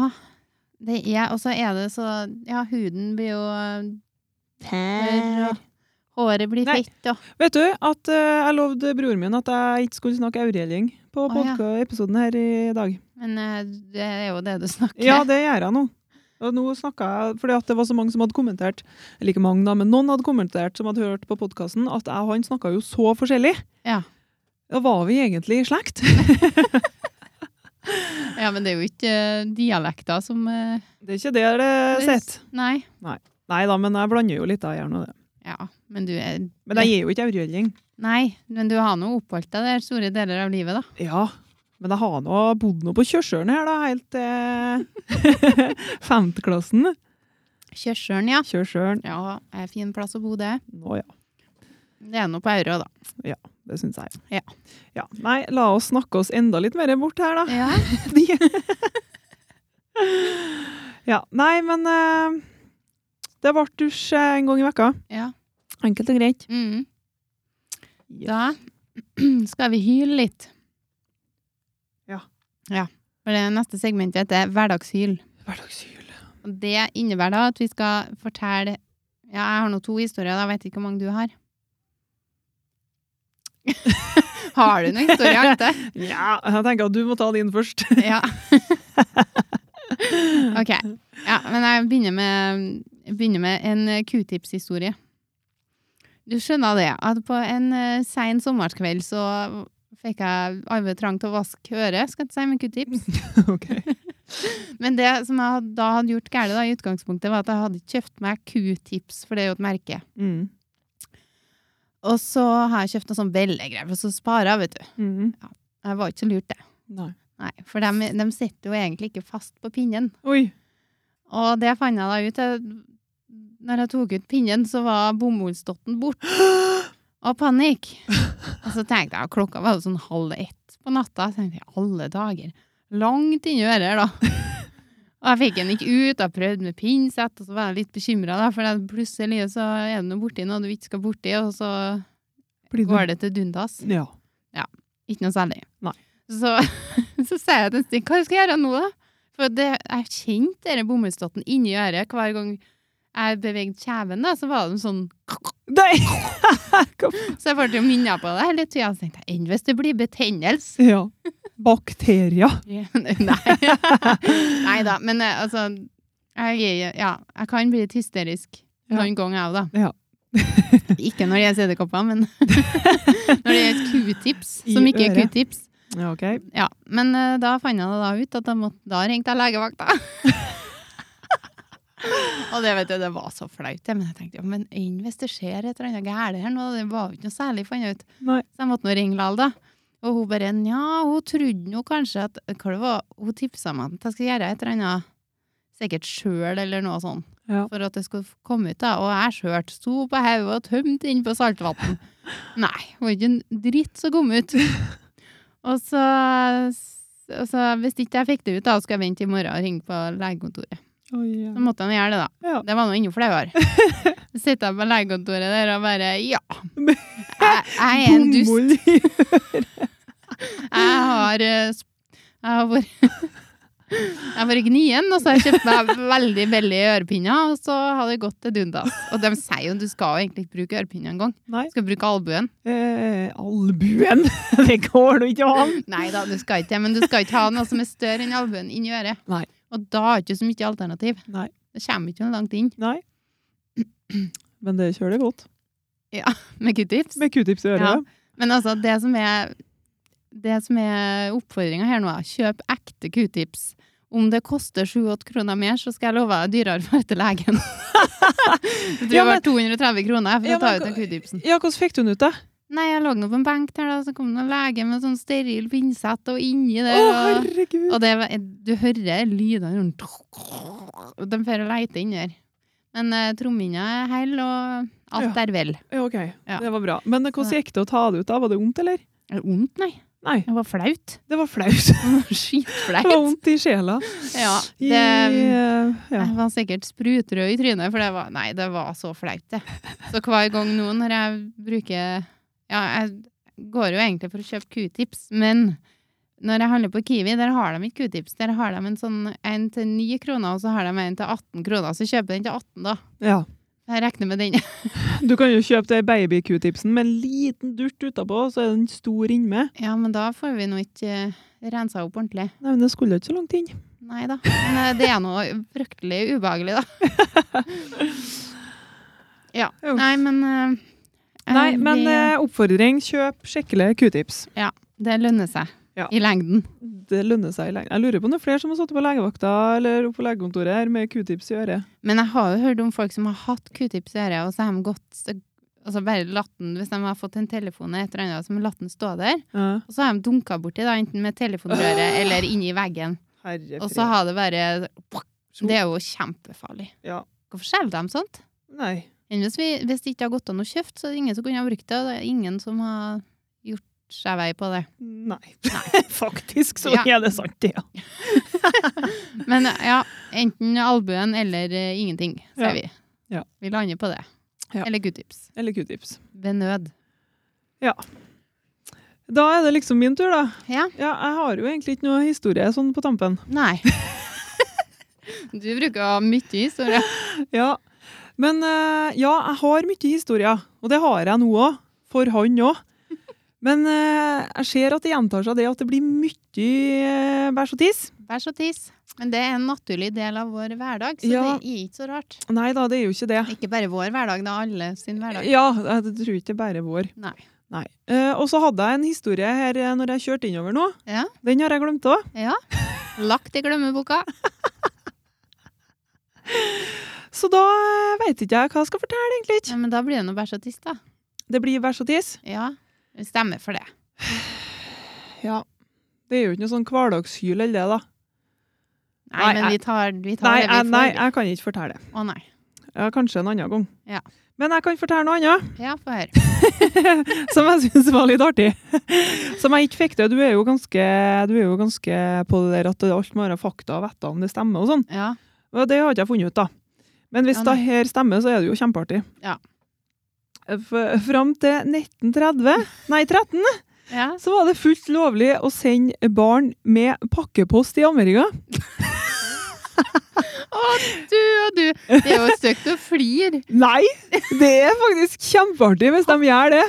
Det er, og så er det så Ja, huden blir jo eh, tørr, og håret blir
Nei.
fett, og
Vet du at eh, jeg lovde broren min at jeg ikke skulle snakke aurelling på
Å, ja.
podka-episoden her i dag.
Men eh, det er jo det du snakker
Ja, det gjør jeg nå. Og nå snakket jeg, fordi at det var så mange som hadde kommentert, eller ikke mange da, men noen hadde kommentert som hadde hørt på podkasten, at jeg og han snakka jo så forskjellig.
Ja.
Ja, var vi egentlig i slekt?
Ja, men det er jo ikke eh, dialekter som eh,
Det er ikke det det er sett.
Nei.
Nei da, men jeg blander jo litt, da, jeg gjør nå det.
Ja, men du er
Men jeg gir jo ikke aurelling.
Nei, men du har nå oppholdt deg der store deler av livet, da.
Ja, men jeg har nå bodd nå på Kjørsølen her, da, helt til eh, femteklassen.
Kjørselen, ja.
Kjørsølen.
Ja, er fin plass å bo, det.
Nå ja,
Det er nå på Aurå, da.
det syns jeg.
Ja.
ja. Nei, la oss snakke oss enda litt mer bort her, da.
Ja.
De. ja, nei, men eh, det ble dusj eh, en gang i vekka.
ja.
Enkelt og greit.
Mm. Da skal vi hyle litt.
Ja.
Ja. For det neste segmentet heter Hverdagshyl.
Hverdagshyl.
Og det innebærer da at vi skal fortelle Ja, jeg har nå to historier, da jeg vet ikke hvor mange du har. har du noen historier, Ante?
Ja, jeg tenker at du må ta din først.
Ja. OK. Ja, men jeg begynner med, jeg begynner med en eh, q-tips-historie. Du skjønner det, at på en eh, sein sommerskveld så fikk jeg arve trang til å vaske øret, skal jeg ikke si, med q-tips.
ok.
Men det som jeg had- da hadde gjort gærent da, i utgangspunktet, var at jeg hadde ikke kjøpt meg q-tips, for det er jo et merke.
Mm.
Og så har jeg kjøpt noe sånn bellegreier, for så sparer jeg, vet du.
Mm.
Det var ikke så lurt, det.
Nei.
Nei, for de, de sitter jo egentlig ikke fast på pinnen.
Oi.
Og det fant jeg da ut. Jeg, når jeg tok ut pinnen, så var bomullsdotten borte. Og panikk. Og så tenkte jeg, klokka var jo sånn halv ett på natta. Jeg tenkte, i alle dager. Langt inni øret her, da. Og jeg fikk den ikke ut, jeg prøvde med pinsett, og så var jeg litt bekymra, da, for det- plutselig så er du nå borti noe du ikke skal borti, og så
Blir
går det til dundas.
Ja.
Ikke noe særlig.
Nei.
Så, så sier jeg til en stikk, hva skal jeg gjøre nå da? For det, jeg kjente denne bomullsdotten inni øret hver gang jeg bevegde kjeven da, så var det en sånn,
Nei!
så jeg ble jo minnet på det hele tiden, så tenkte jeg, enn hvis det blir betennelse?
ja. Bakterier.
Nei. Neida, men eh, altså, jeg, er- ja, jeg kan bli litt hysterisk
Ja.
noen ganger jeg da.
Ja.
ikke når det er CD-kopper, men når det er et Q-tips,
I
som ikke er
øret.
Q-tips.
Ja, ok.
Ja, men eh, da fant jeg det da ut at jeg måtte, da ringte jeg legevakta. og det vet du, det var så flaut. det, Men jeg tenkte, ja, men enn hvis det skjer et eller annet gærent her nå, det var jo ikke noe særlig, fant jeg ut.
Nei.
Så jeg måtte nå ringe Lal, da. Og hun bare, ja, hun trodde nå kanskje at, hva det var, hun tipsa meg at jeg skulle gjøre et eller annet, sikkert sjøl eller noe sånt,
Ja.
for at det skulle komme ut da. Og jeg skjørte, sto på hodet og tømte inn på saltvann. Nei, det var ikke en dritt som kom ut. Og så, og så hvis ikke jeg fikk det ut, da skulle jeg vente i morgen og ringe på legekontoret.
Oi,
Så måtte jeg nå gjøre det, da.
Ja.
Det var nå enda flauere. Så sitter jeg på legekontoret der og bare Ja! Jeg, jeg er en dust. Jeg har eh, sp- Jeg har vært Jeg har vært gnien, og så har jeg kjøpt meg veldig billige ørepinner, og så har det gått til dundas. Og de sier jo du skal jo egentlig ikke bruke ørepinner engang.
Nei.
Du skal bruke albuen.
Eh, albuen. det går nå ikke an.
Nei da, du skal ikke det, men du skal ikke ha noe som er større enn albuen inni øret.
Nei.
Og da har du ikke så mye alternativ.
Nei.
Det kommer ikke noe langt inn
Nei. Men det kjører det godt.
med q-tips.
Med q-tips i
Ja.
øret.
Men altså, det som er det som er oppfordringa her nå, er kjøp ekte q-tips. Om det koster 7-8 kroner mer, så skal jeg love deg dyrere for til legen. jeg tror
Ja,
det var 230 kroner for
Ja,
å ta
men-
ut den q-tipsen.
Ja, hvordan fikk du den ut, da?
Nei, jeg lå nå på en benk der, da, så kom det en lege med sånn steril pinsett og inni
Å,
der. og,
herregud!
og det, var- du hører lydene rundt og De får å leite inni der. Men uh, trommehinna er hell, og alt
Ja.
er vel.
Ja, ok.
Ja.
Det var bra. Men hvordan gikk det å ta det ut, da? Var det vondt, eller?
Er det vondt, nei?
Nei,
Det var flaut.
det var flaut.
Det var
Det var
Skitflaut.
vondt i sjela.
Ja,
I,
det
eh, ja.
jeg var sikkert sprutrød i trynet, for det var, nei, det var så flaut, det. Så hver gang nå når jeg bruker Ja, jeg går jo egentlig for å kjøpe q-tips, men når jeg handler på Kiwi, der har de ikke q-tips. Der har de en sånn en til 9 kroner, og så har de en til 18 kroner. Så kjøper jeg den til 18, da.
ja.
Jeg regner med den.
Du kan jo kjøpe det baby-q-tipsen med en liten durt utapå, så er den stor innmed.
Ja, men da får vi nå ikke eh, rensa opp ordentlig.
Nei, men det skulle ikke så langt inn.
Nei da. Men eh, det er noe fryktelig ubehagelig, da. Ja.
Jo.
Nei, men eh,
Nei,
eh,
men
vi-
eh, oppfordring, kjøp skikkelige q-tips.
Det lønner seg
Ja.
i lengden.
Det lønner seg i lengden. Jeg lurer på om det er flere som har sittet på legevakta eller oppe på legekontoret her med q-tips i øret.
Men jeg har jo hørt om folk som har hatt q-tips i øret, og så har de gått altså bare latt den, Hvis de har fått en telefon eller et eller annet, så har de latt den stå der.
Ja.
Og så har de dunka borti, da, enten med
Ah.
telefonrøret eller inni veggen.
Herre
Og så har det bare Det er jo kjempefarlig.
Ja.
Hvorfor selger de sånt?
Nei.
Enn Hvis, vi, hvis det ikke har gått an å kjøpe, så er det ingen som kunne ha brukt det. Og det er ingen som har gjort seg vei på det.
Nei. Faktisk så
Ja.
er det sant, ja.
Men ja, enten albuen eller eh, ingenting, sier
Ja.
vi.
Ja.
Vi lander på det.
Ja.
Eller q-tips.
Eller q-tips.
Ved nød.
Da er det liksom min tur, da.
Ja.
Ja, jeg har jo egentlig ikke noe historie sånn på tampen.
Nei. Du bruker å ha mye historie.
Ja. Men eh, ja, jeg har mye historier, og det har jeg nå òg. For han òg. Men eh, jeg ser at det gjentar seg det at det blir mye eh, bæsj og tiss.
Bæsj og tiss. Men det er en naturlig del av vår hverdag, så
Ja.
det er ikke så rart.
Nei da, det er jo ikke det.
Ikke bare vår hverdag, det er alle sin hverdag.
Ja, jeg tror ikke det er bare vår.
Nei.
Nei. Eh, og så hadde jeg en historie her eh, når jeg kjørte innover nå.
Ja.
Den har jeg glemt òg.
ja. Lagt i glemmeboka.
Så da eh, vet ikke jeg hva jeg skal fortelle, egentlig.
Ja, men da blir det noe bæsj og tiss, da.
Det blir bæsj og tiss.
Ja. Vi stemmer for det.
Ja. Det er jo ikke noe sånn hverdagshyl eller det, da.
Nei,
Nei,
men
jeg-
vi tar, vi tar
Nei,
det
jeg,
vi
nei,
får.
jeg kan ikke fortelle det.
Å nei.
Ja, kanskje en annen gang.
Ja.
Men jeg kan fortelle noe annet
Ja, få høre.
som jeg syns var litt artig. Som jeg ikke fikk til. Du er jo ganske, du er jo ganske på det der at det alt må være fakta og vette om det stemmer og sånn.
Ja.
Og det har ikke jeg funnet ut, da. Men hvis
Ja,
det
nei.
her stemmer, så er det jo kjempeartig.
Ja.
F fram til 1930, nei 13,
ja.
så var det fullt lovlig å sende barn med pakkepost i Amerika.
Å, du og du. Det er jo stygt å flire.
Nei! Det er faktisk kjempeartig hvis de gjør det.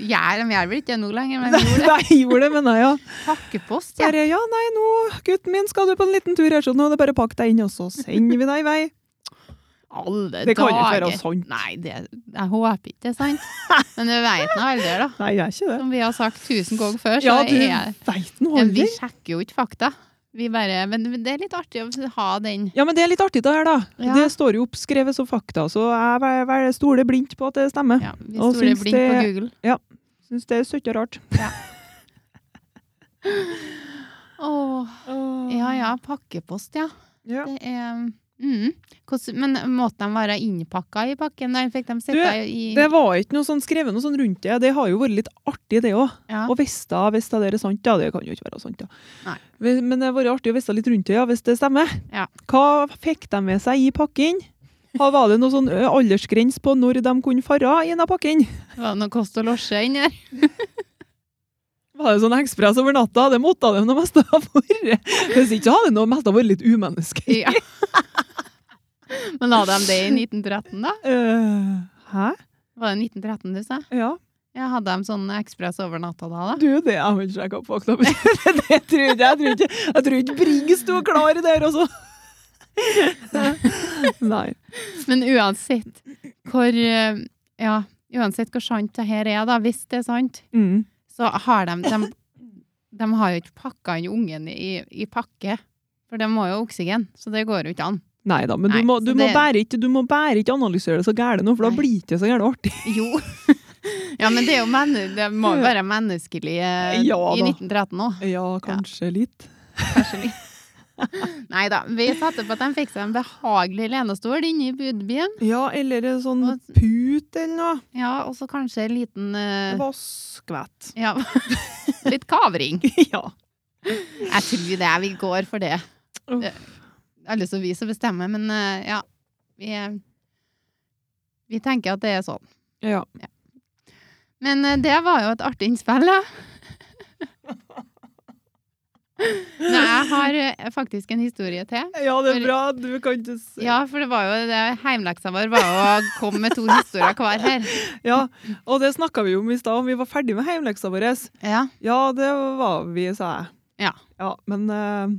Gjør de gjør vel ikke det nå lenger, men de gjorde det.
Nei, gjorde det, mener jeg, ja.
Pakkepost, ja.
Bare, ja, nei, nå, gutten min, skal du på en liten tur her, så nå er det bare å pakke deg inn, og så sender vi deg i vei.
Alle
Det kan jo ikke
dager.
være sant.
Nei, det, jeg håper ikke det er sant. Men du vet nå aldri, da.
Nei, jeg er ikke det.
Som vi har sagt tusen ganger før, så
Ja, du
er
veit nå
ja, Vi
aldri.
sjekker jo ikke fakta. Vi bare, men men det er litt artig å ha den.
Ja, men det er litt artig det her, da.
Ja.
Det står jo oppskrevet som fakta, så jeg vel- vel stoler blindt på at det stemmer.
Ja, vi
Og
stoler
syns
blindt på
det-
Google.
Syns det er søtt og rart.
Åh, ja ja, pakkepost, ja.
Ja.
Det er mm. Hvordan- Men måtte de være innpakka i pakken? Eller fikk de sitte i
Det var ikke noe sånn skrevet noe sånn rundt det. Det har jo vært litt artig, det òg.
ja.
Og hvis da, hvis da det er sant, ja. Det kan jo ikke være sant, da.
Nei.
Vi- Men det har vært artig å vite litt rundt det, ja, hvis det stemmer.
Ja.
Hva fikk de med seg i pakken? Ha- Var det noe sånn ø, aldersgrense på når de kunne fare i en av pakken?
Var det noe kost og losje inni der?
Var det sånn ekspress over natta? Det måtte de det meste ha vært. Hvis ikke så hadde det noe mest ha vært litt umenneske.
Ja. Men la de det i 1913, da?
Eh, hæ?
Var det 1913 du sa?
Ja.
Ja, hadde de sånn ekspress over natta da? da?
Du, det har vel sjekka på fakta. men Det tror jeg, jeg tror ikke. Jeg tror ikke Brigg sto klar der også. Nei.
Men uansett hvor eh, Ja, uansett hvor sant det her er, da, hvis det er sant,
Mm.
så har de De, de har jo ikke pakka inn ungen i, i pakke. For de må jo ha oksygen, så det går jo ikke an.
Nei da, men
Nei,
du må, du,
så
må
det-
bare ikke, du må bare ikke analysere det så gærent nå, for da
Nei.
blir det ikke så gærent artig.
Jo. Ja, men det, er jo menne, det må jo være menneskelig eh,
Ja
i
da.
1913 òg.
Ja, kanskje litt.
Nei da. Vi satte på at de fikk seg en behagelig lenestol inne i budbyen.
Ja, eller en sånn
Og-
put eller noe.
Ja, og så kanskje en liten eh,
Vaskvett.
Ja. Litt kavring.
ja.
Jeg tror det er vi går for det.
Uff.
Det- Alle som vi som bestemmer, men eh, ja. Vi, eh, vi tenker at det er sånn.
Ja.
Men eh, det var jo et artig innspill, da. Nei, jeg har eh, faktisk en historie til.
ja, det er bra. Du kan ikke se
Ja, for det var jo det heimleksa vår var jo å komme med to historier hver her.
Ja, og det snakka vi om i stad, om vi var ferdig med heimleksa vår.
Ja.
Ja, det var vi, sa jeg.
Ja.
Ja, men eh,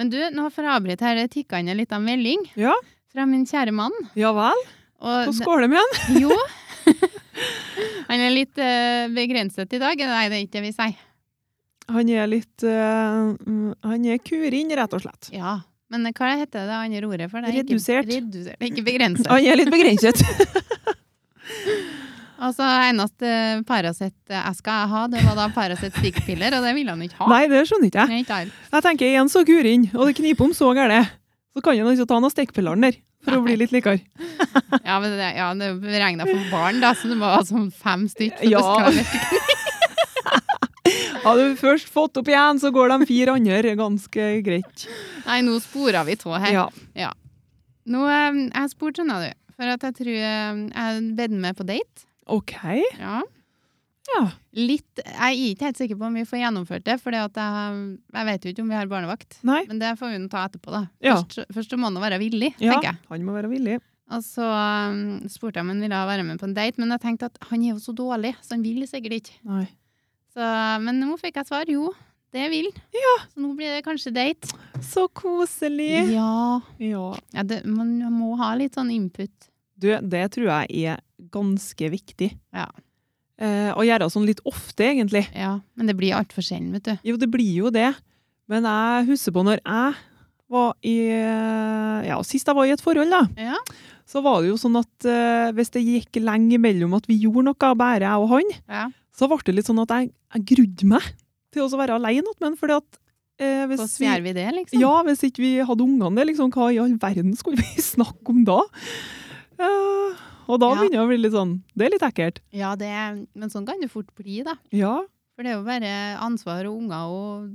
Men du, nå får jeg avbryte her. Det tikka inn en liten melding
Ja,
fra min kjære mann.
ja vel.
Og
Så skåler vi igjen.
Jo. Han er litt eh, begrenset i dag. Nei, det er ikke det vi sier.
Han er litt eh, mm, Han er kurin, rett og slett.
Ja. Men hva heter det andre ordet for det?
Redusert.
Ikke, redusert. Det er Ikke begrenset.
Han er litt begrenset.
Altså, eneste Paracet-eska jeg hadde, det var da Paracet stikkpiller, og det ville han ikke ha.
Nei, det skjønner ikke jeg.
Nei, ikke jeg.
Jeg tenker igjen så kurin, og det kniper om så gærent. Så kan han ikke ta noen stekepilleren der, for å bli litt likere.
Ja, men det, ja, det regna for barn, da, så det må ha sånn fem stykker.
Ja. Hadde du først fått opp igjen, så går de fire andre ganske greit.
Nei, nå spora vi tå her.
Ja.
Nå, eh, jeg spurte, skjønner du, for at jeg tror eh, jeg bedde med på date.
OK.
Ja.
Ja.
Litt, jeg er ikke helt sikker på om vi får gjennomført det, for jeg, jeg vet jo ikke om vi har barnevakt.
Nei.
Men det får vi nå ta etterpå, da.
Ja.
Først, først må han være villig,
Ja,
tenker jeg.
han må være villig.
Og så um, spurte jeg om han ville være med på en date, men jeg tenkte at han er jo så dårlig, så han vil sikkert ikke.
Nei.
Så, men nå fikk jeg svar. Jo, det vil. Så nå blir det kanskje date.
Så koselig.
Ja.
Ja.
ja det, man må ha litt sånn input.
Du, det tror jeg er ganske viktig.
Ja.
Eh, å gjøre sånn litt ofte, egentlig.
Ja. Men det blir altfor sjelden, vet du.
Jo, det blir jo det. Men jeg husker på når jeg var i Ja, sist jeg var i et forhold, da.
Ja.
Så var det jo sånn at eh, hvis det gikk lenge imellom at vi gjorde noe, bare jeg og han,
Ja.
så ble det litt sånn at jeg, jeg grudde meg til å være alene med han. Fordi at eh, hvis
Hvordan gjør vi det, liksom?
Ja, hvis ikke vi hadde ungene der, liksom, hva i all verden skulle vi snakke om da? Eh, og da
Ja.
begynner jeg å bli litt sånn Det er litt ekkelt.
Ja, det, men sånn kan det fort bli, da.
Ja,
For det er jo bare ansvar og unger og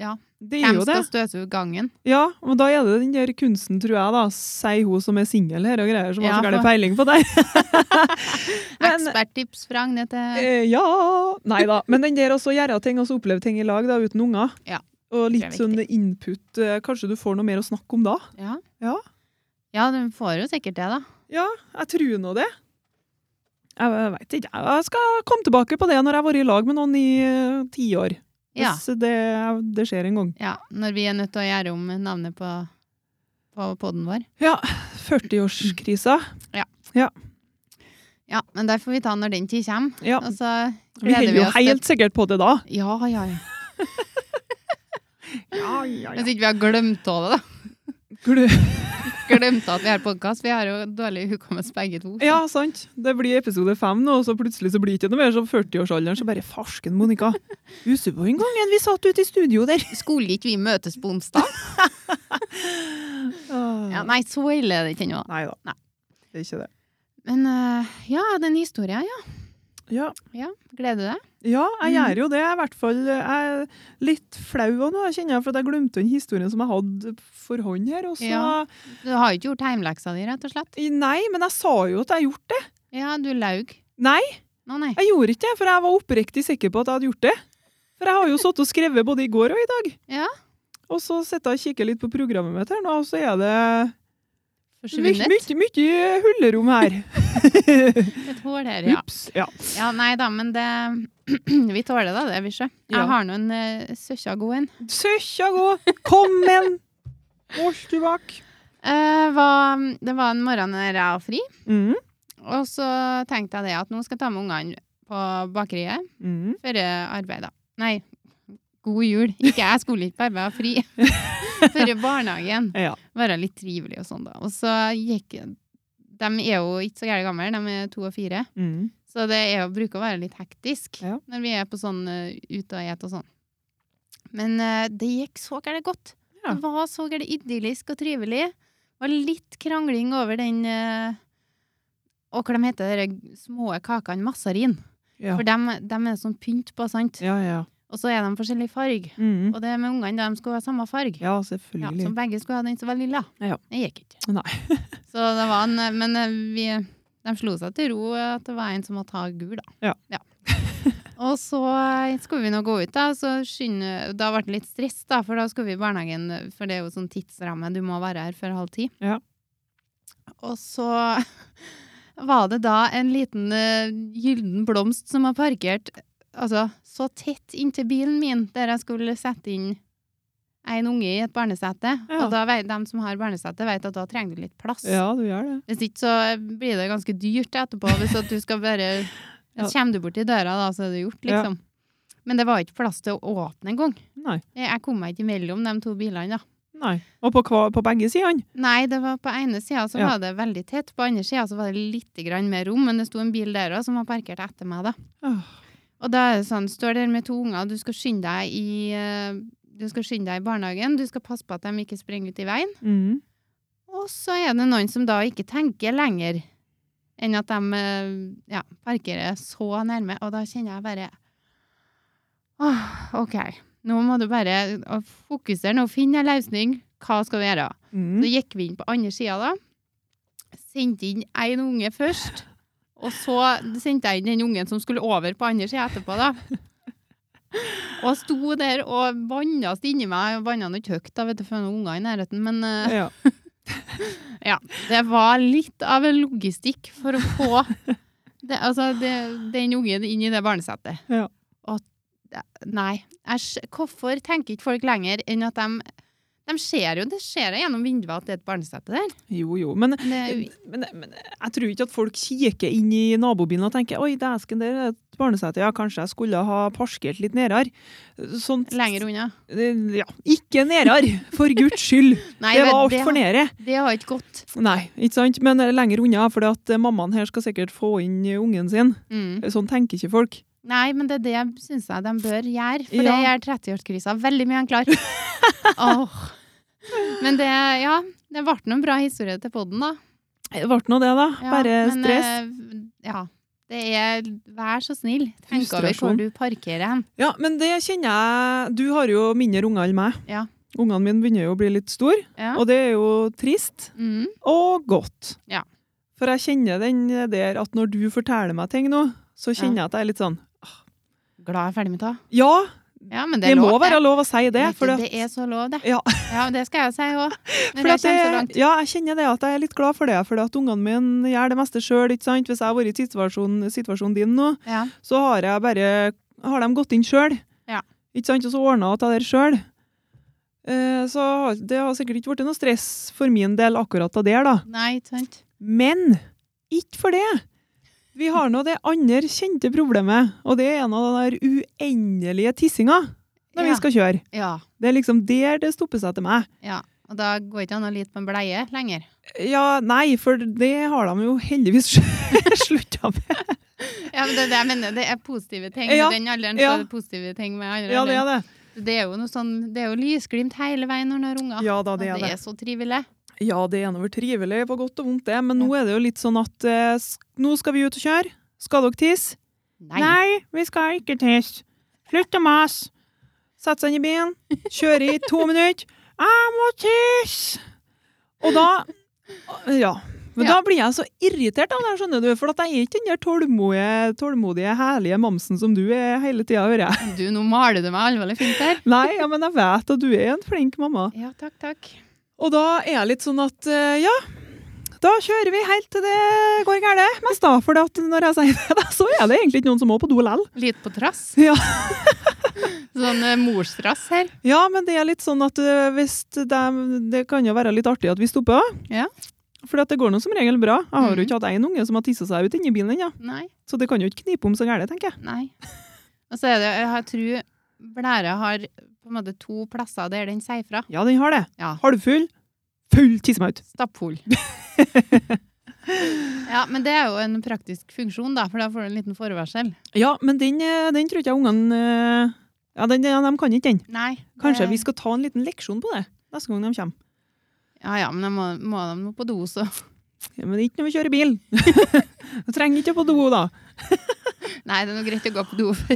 det er
Hvem
jo det.
skal støte ut gangen?
Ja, men da er det den der kunsten, tror jeg, da, sier hun som er singel her og greier, som har
Ja,
så gæren
for-
peiling på det. Men-
Eksperttips fra Agnete.
Eh, ja Nei da. Men den der også gjøre ting og så oppleve ting i lag da, uten unger.
Ja,
Og
det
litt
er
sånn input. eh, Kanskje du får noe mer å snakke om da?
Ja.
Ja.
ja, du får jo sikkert det, da.
Ja, jeg tror nå det. Jeg veit ikke. Jeg skal komme tilbake på det når jeg har vært i lag med noen i eh, ti år.
Ja.
Hvis det, det skjer en gang.
ja. Når vi er nødt til å gjøre om navnet på, på poden vår.
40-årskrisa.
Ja, men der får vi ta når den tid kommer.
Ja.
Og så
Vi
gleder
holder
vi
jo
oss til
helt sikkert på det da.
Ja, ja, ja.
Ja, ja,
Hvis ikke vi har glemt av det, da. Glemt av at vi har podkast. Vi har jo dårlig hukommelse begge to. så.
Ja, sant. Det blir episode fem nå, og så plutselig så blir det ikke noe mer som 40-årsalderen. Så bare farsken, Monica. Husker du på en gang igjen vi satt ute i studio der?
Skulle ikke vi møtes på onsdag? Ja, nei, så ille er det ikke ennå. da.
Nei da.
Nei.
Det er ikke det.
Men øh, ja, den historien, ja.
Ja.
ja. Gleder du deg?
Ja, jeg
Mm.
gjør jo det. Jeg er i hvert fall jeg er litt flau også nå, jeg kjenner jeg, for at jeg glemte den historien som jeg hadde for hånd her. Og så,
Ja. Du har jo ikke gjort hjemmeleksa di, rett og slett?
Nei, men jeg sa jo at jeg gjort det.
Ja, du laug.
Nei,
Å nei.
jeg gjorde ikke det, for jeg var oppriktig sikker på at jeg hadde gjort det. For jeg har jo satt og skrevet både i går og i dag.
Ja.
Og så sitter jeg og kikker litt på programmet mitt her nå, og så er det mye,
Forsvunnet.
mye, mye hullerom her.
Et hår her, ja.
Ups. Ja.
ja. Nei da, men det Vi tåler da det, vi sjø.
Ja.
Jeg har nå en uh, søkja god en.
Søkja gå! Kom igjen! Års tilbake.
Eh, var- det var en morgen når jeg var fri,
Mm.
og så tenkte jeg det at nå skal jeg ta med ungene på bakeriet
Mm.
før arbeid, da. Nei, god jul. Ikke jeg skulle ikke på arbeid, jeg var fri. Før barnehagen.
Ja.
Være litt trivelig og sånn, da. Og så gikk De er jo ikke så gærent gamle, de er to og fire.
Mm.
Så det er jo, bruker å være litt hektisk
Ja.
når vi er på sånn eh, ute og et og sånn. Men eh, det gikk så gærent godt.
Ja.
Det var så gærent idyllisk og trivelig. Det var litt krangling over den eh, og hva de heter de små kakene? Massarin.
Ja.
For dem, dem er sånn pynt på, sant?
Ja, ja.
Og så er de forskjellig farg.
Mm.
Og det med ungene, de skulle ha samme farg.
Ja,
Ja,
selvfølgelig.
så begge skulle ha den som var lilla.
Ja.
Det gikk ikke.
Nei.
Så det var en, men eh, vi, de slo seg til ro eh, at det var en som måtte ha gul, da.
Ja.
Og så eh, skulle vi nå gå ut, da. Så skynde, da ble det litt stress, da, for da skulle vi i barnehagen, eh, for det er jo sånn tidsramme, du må være her før halv ti.
Ja.
Og så var det da en liten eh, gylden blomst som var parkert altså, så tett inntil bilen min, der jeg skulle sette inn en unge i et barnesete.
Ja.
Og da vet de som har barnesete, vet at da trenger du litt plass.
Ja, du gjør det.
Hvis ikke så blir det ganske dyrt etterpå. Hvis at du skal bare
Ja.
Kommer du bort i døra, da, så er det gjort, liksom. Men det var ikke plass til å åpne engang.
Nei.
Jeg- Jeg kom meg ikke mellom de to bilene, da.
Nei. Og på, hva, på begge sidene.
Nei, det var på ene sida så
Ja.
var det veldig tett. På andre sida så var det litt grann mer rom, men det sto en bil der òg som var parkert etter meg, da.
Åh,
Og da er det sånn, står der med to unger, du skal skynde deg i eh, du skal skynde deg i barnehagen, du skal passe på at de ikke springer ut i veien.
Mm.
Og så er det noen som da ikke tenker lenger enn at de eh, ja, parkerer så nærme, og da kjenner jeg bare Åh, OK, nå må du bare å, fokusere nå, finne en løsning. Hva skal du gjøre? Så
Mm.
gikk vi inn på andre sida da. Sendte inn én unge først, Og så sendte jeg inn den ungen som skulle over på andre sida etterpå, da. Og sto der og bannes inni meg. Jeg banna ikke høyt, da, vet du, for det var noen unger i nærheten. Men eh,
Ja.
det var litt av en logistikk for å få det, altså, det, den ungen inn i det barnesettet.
Ja.
Og ja, nei. Jeg, skj- hvorfor tenker ikke folk lenger enn at de De ser jo det ser jeg gjennom vinduet at det er et barnesete der.
Jo, jo. Men,
Det,
men, men jeg tror ikke at folk kikker inn i nabobilen og tenker oi, dæsken, der er et barnesete. Ja, kanskje jeg skulle ha parkert litt Sånn nedere. Sånt
lenger unna.
Ja, ikke nedere! For guds skyld!
Nei,
det
vet-
var
det
altfor
har-
nede.
Det har ikke gått.
Nei, ikke sant? Men eh, lenger unna, for at eh, mammaen her skal sikkert få inn eh, ungen sin.
Mm.
Sånn tenker ikke folk.
Nei, men det er det jeg syns jeg de bør gjøre. For det
Ja.
gjør 30-årskrisa veldig mye enklere. Åh. Men det, ja, det ble noen bra historier til podden, da.
Det ble nå det, da.
Ja,
Bare
men,
stress.
eh, ja. Det er Vær så snill, tenk over hvor
Frustrasjon.
du parkerer hen.
Ja, men det kjenner jeg Du har jo mindre unger enn meg.
Ja.
Ungene mine begynner jo å bli litt store,
Ja.
og det er jo trist
Mm.
og godt.
Ja.
For jeg kjenner den der at når du forteller meg ting nå, så kjenner jeg at jeg er litt sånn
Glad jeg er ferdig med det.
Ja,
Ja, men det
det,
er
må
lov,
være lov å si det.
Vet du,
For,
det er så lov, det.
Ja.
det skal jeg si òg. Når
Fordi
jeg kommer
at
så
jeg-
langt.
Ja, jeg kjenner det at jeg er litt glad for det, for at ungene mine gjør det meste sjøl. Hvis jeg har vært i situasjonen, situasjonen din nå,
Ja.
så har jeg bare har de gått inn sjøl.
Ja.
Ikke sant? Og så ordna jeg det der sjøl. Eh, så har- det har sikkert ikke blitt noe stress for min del akkurat av det, da.
Nei, ikke sant.
Men ikke for det! Vi har nå det andre kjente problemet, og det er en av den der uendelige tissinga
Ja.
når vi skal kjøre.
Ja.
Det er liksom der det stopper seg til meg.
ja. Og da går ikke an å lite på en bleie lenger.
Ja, nei, for det har de jo heldigvis slutta med.
Ja, men det, er det, jeg mener, det er positive ting.
Ja,
I den alderen
ja.
så er det positive ting med andre
Ja, det
alderen.
er det.
Det er jo noe sånn, det er jo lysglimt hele veien når man har unger.
Ah, Ja da, det
Og
er det.
så trivelig.
Ja, det er noe trivelig på godt og vondt, det. Men nå er det jo litt sånn at eh, s- nå skal vi ut og kjøre. Skal dere tisse?
Nei.
vi skal ikke tisse. Slutt å mase. Sette seg inn i bilen, kjøre i to minutter. Jeg må tisse! Og da Ja. Men
Ja.
da blir jeg så irritert av det, her, skjønner du. For at jeg er ikke den der tålmodige, tålmodige herlige mamsen som du er hele tida, hører jeg.
Du, nå maler du meg alvorlig fint der.
Nei, ja, men jeg vet at du er en flink mamma.
Ja, takk, takk.
Og da er jeg litt sånn at eh, ja, da kjører vi helt til det går galt. Mest da, for at når jeg sier det, da, så er det egentlig ikke noen som må på do likevel.
Litt på trass.
Ja.
sånn eh, morstrass her.
Ja, men det er litt sånn at eh, hvis de, det kan jo være litt artig at vi stopper òg.
Ja.
For det går nå som regel bra. Jeg har jo
Mhm.
ikke hatt én unge som har tissa seg ut inni bilen ennå.
Nei,
Så det kan jo ikke knipe om så galt, tenker jeg.
nei. Og så er det, jeg tror blæra har på en måte to plasser der den sier fra.
Ja, den har det.
Ja.
Halvfull. Full tissemaut.
Stapphull. ja, men det er jo en praktisk funksjon da, for da får du en liten forvarsel.
Ja, men den, eh, den tror ikke jeg ungene eh, Ja, den, ja, de kan ikke den.
Nei.
Kanskje
det-
vi skal ta en liten leksjon på det neste gang de kommer.
Ja, ja, men de må, må de må på do, så.
Ja, men ikke når vi kjører bil. Du trenger ikke på do, da.
Nei, det er noe greit å gå på do for.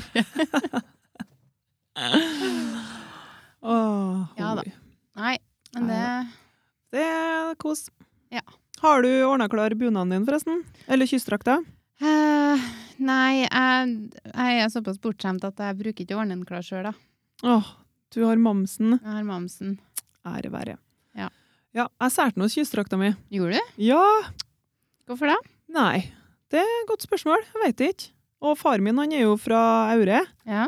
Åh,
Ja da.
hoi.
Nei, men det...
Det er kos.
Ja.
Har du ordna klar bunaden din, forresten? Eller kystdrakta?
Eh, nei, jeg, jeg er såpass bortskjemt at jeg bruker ikke ordnen klar sjøl, da.
Åh, du har mamsen.
Jeg har mamsen.
Ære være.
Ja.
Ja, jeg solgte nå kystdrakta mi.
Gjorde du?
Ja,
Hvorfor det?
nei. Det er et godt spørsmål. Jeg veit ikke. Og far min han er jo fra Aure.
Ja.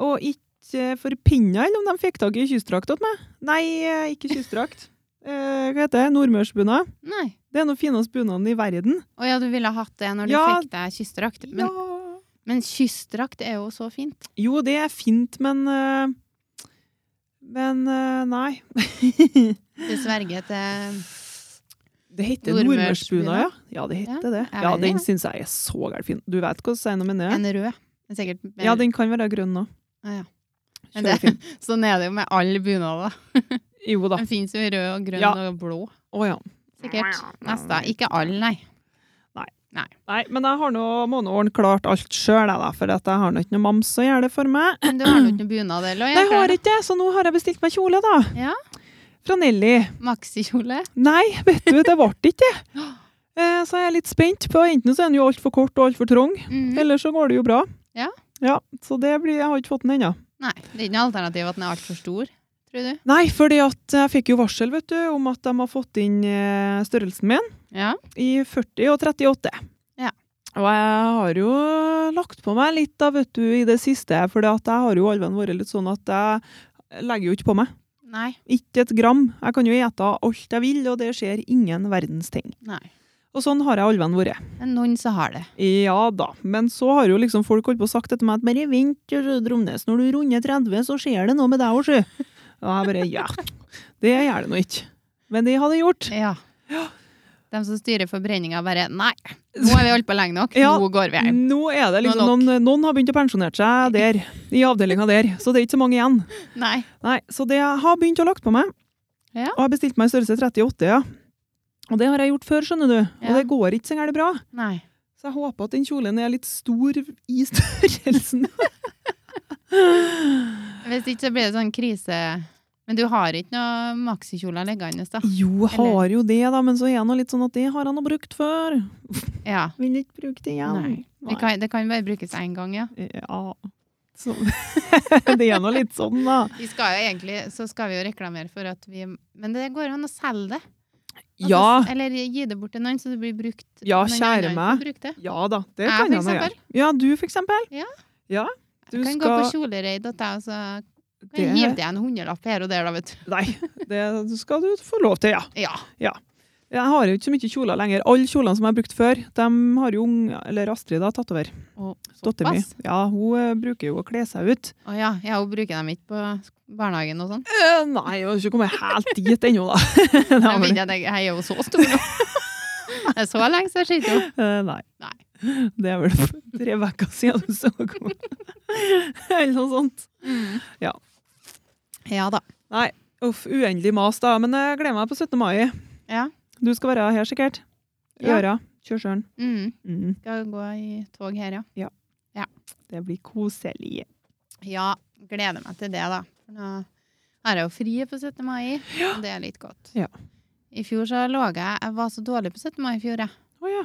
Og ikke forpinna, eller om de fikk tak i kystdrakt til meg. Nei, eh, ikke kystdrakt. eh, hva heter det? Nordmørsbunad.
Nei.
Det er den fineste bunaden i verden.
Å ja, du ville hatt det når du
Ja.
fikk deg kystdrakt. Men,
ja.
men kystdrakt er jo så fint.
Jo, det er fint, men eh, Men eh, nei.
Du sverger til
Det heter
Nordmørsbunad?
nordmørsbunad, ja. Ja, det heter det.
jeg
Ja,
vet
den
det.
syns jeg er så gæren fin. Du vet hvordan jeg mener det?
en rød. Det er Sikkert mer-
Ja, den kan være grønn òg.
Ah, ja. Men det-
Kjørefin.
Sånn er det jo med alle bunader.
Jo da.
Den fins jo i rød og grønn
Ja.
og blå.
Å ja.
Sikkert. Nesten. Ikke alle, nei.
Nei, men jeg har nå måneåren klart alt sjøl, jeg, da. For at jeg har nå ikke noe mams som gjør det for meg.
Men du har nå ikke noen bunad eller?
Nei, jeg har ikke det, så nå har jeg bestilt meg kjole, da.
Ja.
Fra Nelly.
Maxikjole?
Nei, vet du, det ble ikke det. Eh, så jeg er litt spent på Enten så er den jo altfor kort og altfor trang,
Mhm.
eller så går det jo bra.
Ja.
Så det blir, jeg har ikke fått den ennå.
Nei, det er ikke noe alternativ at den er altfor stor, tror du?
Nei, fordi at jeg fikk jo varsel vet du, om at de har fått inn eh, størrelsen min
Ja.
i 40 og 38.
Ja.
Og jeg har jo lagt på meg litt da, vet du, i det siste, for jeg har jo alven vært litt sånn at jeg legger jo ikke på meg.
Nei.
Ikke et gram. Jeg kan jo ete alt jeg vil, og det skjer ingen verdens ting.
Nei.
Og sånn har jeg alven vært.
Det er noen som har det.
Ja da, men så har jo liksom folk holdt på og sagt etter meg at bare vent, Dromnes, når du runder 30, så skjer det noe med deg òg, sjø. Og jeg bare ja, det gjør det nå ikke. Men det hadde jeg gjort.
Ja. De som styrer forbrenninga, bare Nei, nå har vi holdt på lenge nok.
Ja.
Nå går vi hjem.
Nå er det liksom
Nå er
noen, noen har begynt å pensjonere seg der, i avdelinga der, så det er ikke så mange igjen.
Nei.
Nei, Så det jeg har begynt å lagt på meg,
Ja.
og jeg bestilte meg i størrelse 38, ja. Og det har jeg gjort før, skjønner du, og
Ja.
det går ikke så gærent bra.
Nei.
Så jeg håper at den kjolen er litt stor i størrelsen.
Hvis ikke så blir det sånn krise. Men du har ikke noe maxikjoler liggende, da?
Jo, jeg
Eller-
har jo det, da, men så er jeg nå litt sånn at det har jeg nå brukt før.
Ja.
Vil ikke bruke det igjen.
Nei. Det kan, det kan bare brukes én gang, ja.
Ja. Så. det er nå litt sånn, da.
Vi skal jo egentlig, så skal vi jo reklamere for at vi Men det går jo an å selge det. Altså,
Ja.
Eller gi det bort til noen, så det blir brukt.
Ja,
noen
kjære
andre
meg.
får bruke det.
Ja da, det
Jeg,
kan
for
jeg nå
eksempel.
gjøre. Ja, du for eksempel.
Ja.
Ja, Du
kan gå på
skal
kjolereid, og ta- så kan
Det-
jeg hive deg en hundrelapp her og der, da, vet du.
Nei, det skal du få lov til, ja.
Ja.
Jeg har jo ikke så mye kjoler lenger. Alle kjolene som jeg har brukt før, de har jo unge, eller Astrid da, tatt over.
Og
Datteren min.
såpass.
Ja, hun eh, bruker jo å kle seg ut.
Å ja, ja, hun bruker dem ikke på sk- barnehagen og sånn.
Eh, nei, jeg har ikke kommet helt dit ennå, da. Nei,
Jeg
men-
vet ikke at jeg jeg er jo så stor nå. Det er så lenge siden jeg sitter jo.
Eh, nei.
Nei.
Det er vel tre uker siden du så henne. Eller noe sånt. Ja.
Ja da.
Uff, uendelig mas, da. Men jeg gleder meg på 17. mai.
Ja.
Du skal være her, sikkert. I
Ja.
øra. Kjørsøren.
Mm.
Mm.
Skal gå i tog her, ja.
Det blir koselig.
Ja, gleder meg til det, da. Nå har jeg jo fri på 17. mai, og det er litt godt.
Ja.
I fjor så lå jeg Jeg var så dårlig på 17. mai i fjor, jeg.
Å ja.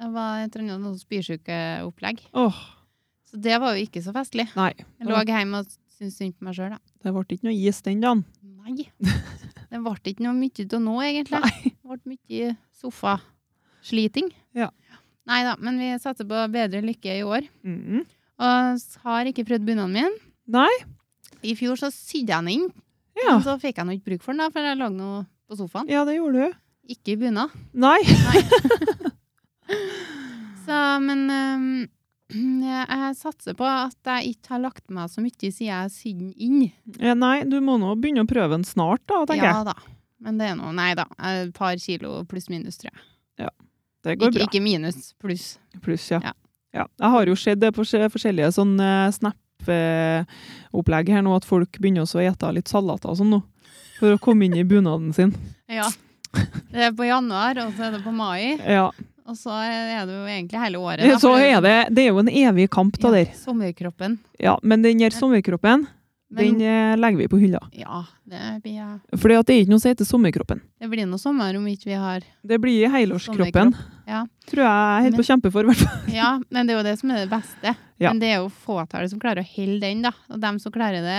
Jeg var jeg trengte noe spysykeopplegg.
Åh,
Så det var jo ikke så festlig.
nei.
Jeg lå hjemme og syntes synd på meg sjøl, da.
Det ble ikke noe is den dagen.
Nei. Det ble ikke noe mye til nå, egentlig. Det ble mye sofasliting.
Ja.
Nei da, men vi satser på bedre lykke i år.
Mm.
Og s- har ikke prøvd bunaden min.
Nei?
I fjor så sydde jeg den inn,
Ja.
men så fikk jeg nå ikke bruk for den, da, for jeg lå nå på sofaen.
ja, det gjorde du.
Ikke i bunad.
Nei.
Så, men øhm, jeg satser på at jeg ikke har lagt meg så mye siden jeg sydde den inn.
Eh, nei, du må nå begynne å prøve den snart, da, tenker
Ja da. Men det er nå Nei da. Et par kilo pluss minus, tror jeg.
jeg. Det går
Ikke,
bra.
ikke minus, pluss.
Pluss, ja.
Ja.
ja. Jeg har jo sett det på se- forskjellige sånn eh, snap-opplegg her nå, at folk begynner også å ete litt salater og sånn nå. For å komme inn i bunaden sin.
Ja. Det er på januar, og så er det på mai.
Ja.
Og så er det jo egentlig hele året. da,
Så
for
er det, det er jo en evig kamp da
ja,
der.
sommerkroppen.
Ja, men den her sommerkroppen,
Men
den eh, legger vi på hylla.
ja, det blir,
Fordi at det er ikke noe som heter sommerkroppen.
det blir noe sommer om ikke vi har
Det blir helårskroppen.
Ja.
Tror jeg jeg holder på å kjempe for, i hvert fall.
ja, men det er jo det som er det beste.
Ja.
Men det er jo fåtallet som klarer å holde den, da. Og dem som klarer det,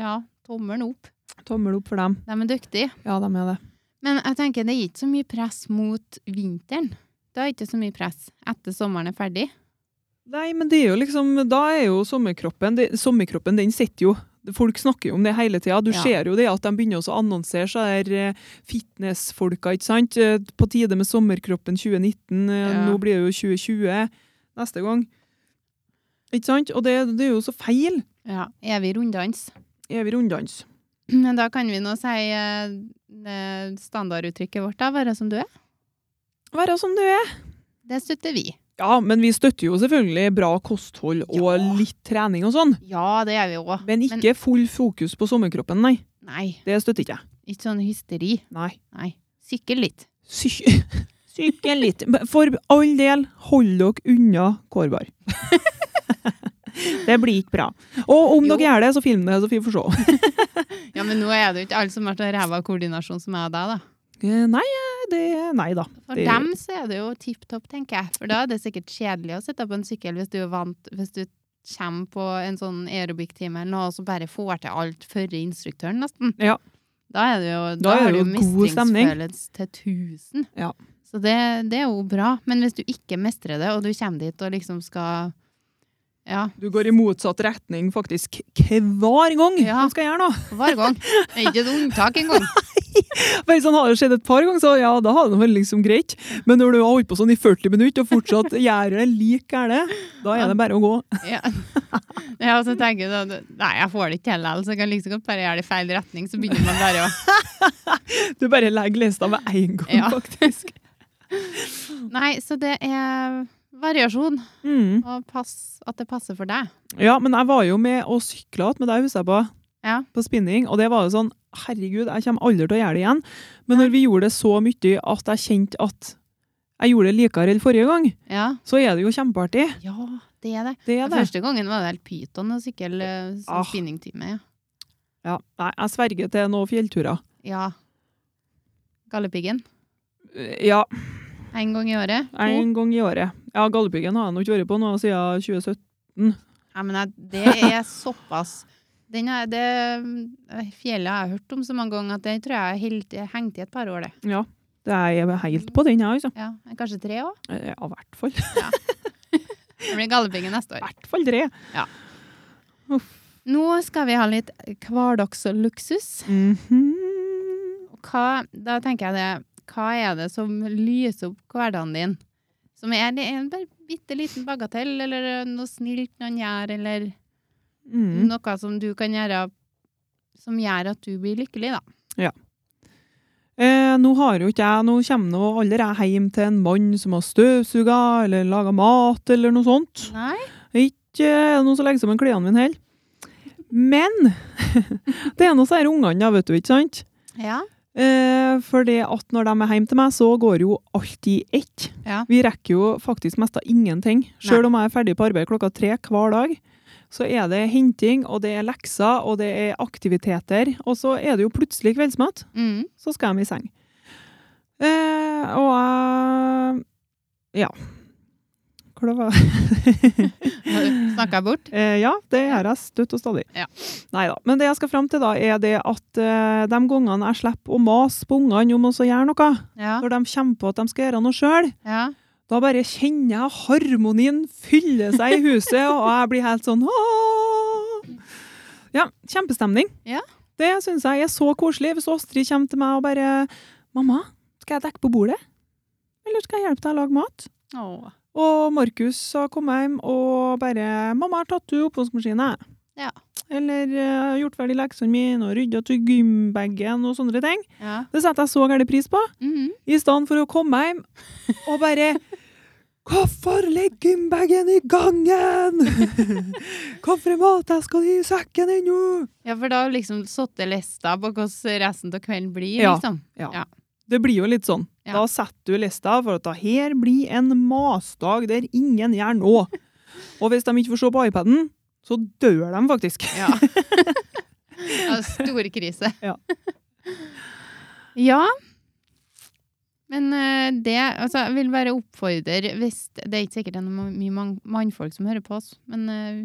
ja, tommelen opp.
Tommel opp for dem.
De er dyktige.
Ja, de er det.
Men jeg tenker det er ikke så mye press mot vinteren. Det er ikke så mye press etter sommeren er ferdig.
Nei, men det er jo liksom, da er jo sommerkroppen det, Sommerkroppen, den sitter jo. Folk snakker jo om det hele tida. Du
Ja.
ser jo det at de begynner også å annonsere seg der eh, fitnessfolka, ikke sant. Eh, På tide med sommerkroppen 2019. eh,
Ja.
Nå blir det jo 2020 neste gang. Ikke sant? Og det, det er jo så feil.
Ja. Evig runddans.
Evig runddans.
Men da kan vi nå si eh, det standarduttrykket vårt, da, være som du er.
Være som du er.
Det støtter vi.
Ja, men vi støtter jo selvfølgelig bra kosthold og
Ja.
litt trening og sånn.
Ja, det gjør vi òg.
Men ikke full fokus på sommerkroppen, nei.
Nei,
Det støtter ikke jeg.
ikke sånn hysteri.
Nei.
Nei. Sykkel litt.
Sy Syke litt. Men For all del, hold dere unna kårbar. det blir ikke bra. Og om
Jo.
dere gjør det, så film det, så vi får se.
Ja, men nå er det jo ikke alle som har så ræva koordinasjon som jeg og deg, da.
Eh, Nei, eh, det Nei da.
For
Det-
dem så er det jo tipp topp, tenker jeg. For da er det sikkert kjedelig å sitte på en sykkel hvis du er vant Hvis du kommer på en sånn aerobic-time eller noe, og så bare får til alt før instruktøren, nesten.
Ja.
Da er det jo, da
Da er
har
det
du
jo god stemning.
mestringsfølelse til tusen.
Ja.
Så det, det er jo bra. Men hvis du ikke mestrer det, og du kommer dit og liksom skal Ja,
Du går i motsatt retning faktisk hver gang.
Ja.
Hva skal jeg gjøre nå?
hver gang. Det er ikke et unntak engang.
Bare sånn har det skjedd et par ganger, så ja, da har det vært liksom greit. Men når du har holdt på sånn i 40 minutter og fortsatt gjør det lik gærent, da er det bare å gå.
Ja. ja, og så tenker du da, Nei, jeg får det ikke til likevel, så jeg kan like så godt bare gjøre det i feil retning, så begynner man bare å
Du bare legger lista med en gang,
Ja.
faktisk.
Nei, så det er variasjon,
Mm.
og pass, at det passer for deg.
Ja, men jeg var jo med og sykla igjen med deg, husker jeg på,
Ja.
på spinning. Og det var jo sånn Herregud, jeg kommer aldri til å gjøre det igjen. Men når vi gjorde det så mye at jeg kjente at jeg gjorde det likere enn forrige gang,
Ja,
så er det jo kjempeartig.
ja det er det.
Det er det.
Første gangen var det helt pyton og sykkel eh, som
Ah.
spinningtime. Ja.
Ja. Nei, jeg sverger til noen fjellturer.
ja. Galdhøpiggen.
Ja,
En gang i året. To.
en gang i året. Ja, Galdhøpiggen har jeg nå ikke vært på nå siden 2017.
Ja, men jeg- det er såpass. Den er, det eh, fjellet jeg har hørt om så mange ganger, at det tror jeg helt, hengte i et par år, det.
Ja, det er jeg helt på den, jeg, altså.
Ja, kanskje tre år.
Eh, Ja, i hvert fall.
Det blir Galdhøpiggen neste
I
år.
hvert fall tre.
Nå skal vi ha litt hverdagsluksus.
Mhm.
Og hva, da tenker jeg det, hva er det som lyser opp hverdagen din? Som er det en bare bitte liten bagatell, eller noe snilt noen gjør, eller
Mm.
noe som du kan gjøre som gjør at du blir lykkelig, da.
Eh, nå har jo ikke jeg, nå kommer nå aldri jeg hjem til en mann som har støvsuga eller laga mat eller noe sånt.
Nei?
Ikke eh, noen som legger sammen klærne mine heller. Men det er nå disse ungene, da, vet du, ikke sant?
Ja.
Eh, for det at når de er hjemme til meg, så går jo alt i ett.
Ja.
Vi rekker jo faktisk mest av ingenting. Selv om jeg er ferdig på arbeid klokka tre hver dag, så er det henting, og det er lekser, og det er aktiviteter. Og så er det jo plutselig kveldsmat
Mm.
så skal de i seng. Eh, og jeg Ja. Hvor det var
Snakka jeg bort?
eh, Ja, det gjør jeg støtt og stadig.
Ja.
Nei da. Men det jeg skal fram til, da, er det at eh, de gangene jeg slipper å mase på ungene om å så gjøre noe,
Ja.
når de kommer på at de skal gjøre noe sjøl,
ja.
da bare kjenner jeg harmonien fylle seg i huset, og jeg blir helt sånn «Åh!» Ja, kjempestemning.
Ja.
Det syns jeg er så koselig. Hvis Åstrid kommer til meg og bare 'Mamma, skal jeg dekke på bordet? Eller skal jeg hjelpe deg å lage mat?'
Åh.
Og Markus har kommet hjem og bare 'Mamma, jeg har tatt ut oppvaskmaskinen.'
Ja.
Eller eh, 'gjort ferdig leksene mine', og 'rydda til gymbagen', og sånne ting.
Ja.
Det setter jeg så gæren pris på.
Mhm.
I stedet for å komme hjem og bare Hvorfor ligger gymbagen i gangen? Hvorfor er matveska di i sekken ennå?
ja, for da har du liksom satte lista på hvordan resten av kvelden blir,
Ja.
liksom.
Det blir jo litt sånn.
Ja.
Da setter du lista for at det her blir en masdag der ingen gjør noe. Og hvis de ikke får se på iPaden, så dør de faktisk.
Ja. ja Storkrise.
Ja.
Ja. Men eh, det Altså, jeg vil bare oppfordre hvis Det er ikke sikkert det er noe mye man- mannfolk som hører på oss, men eh,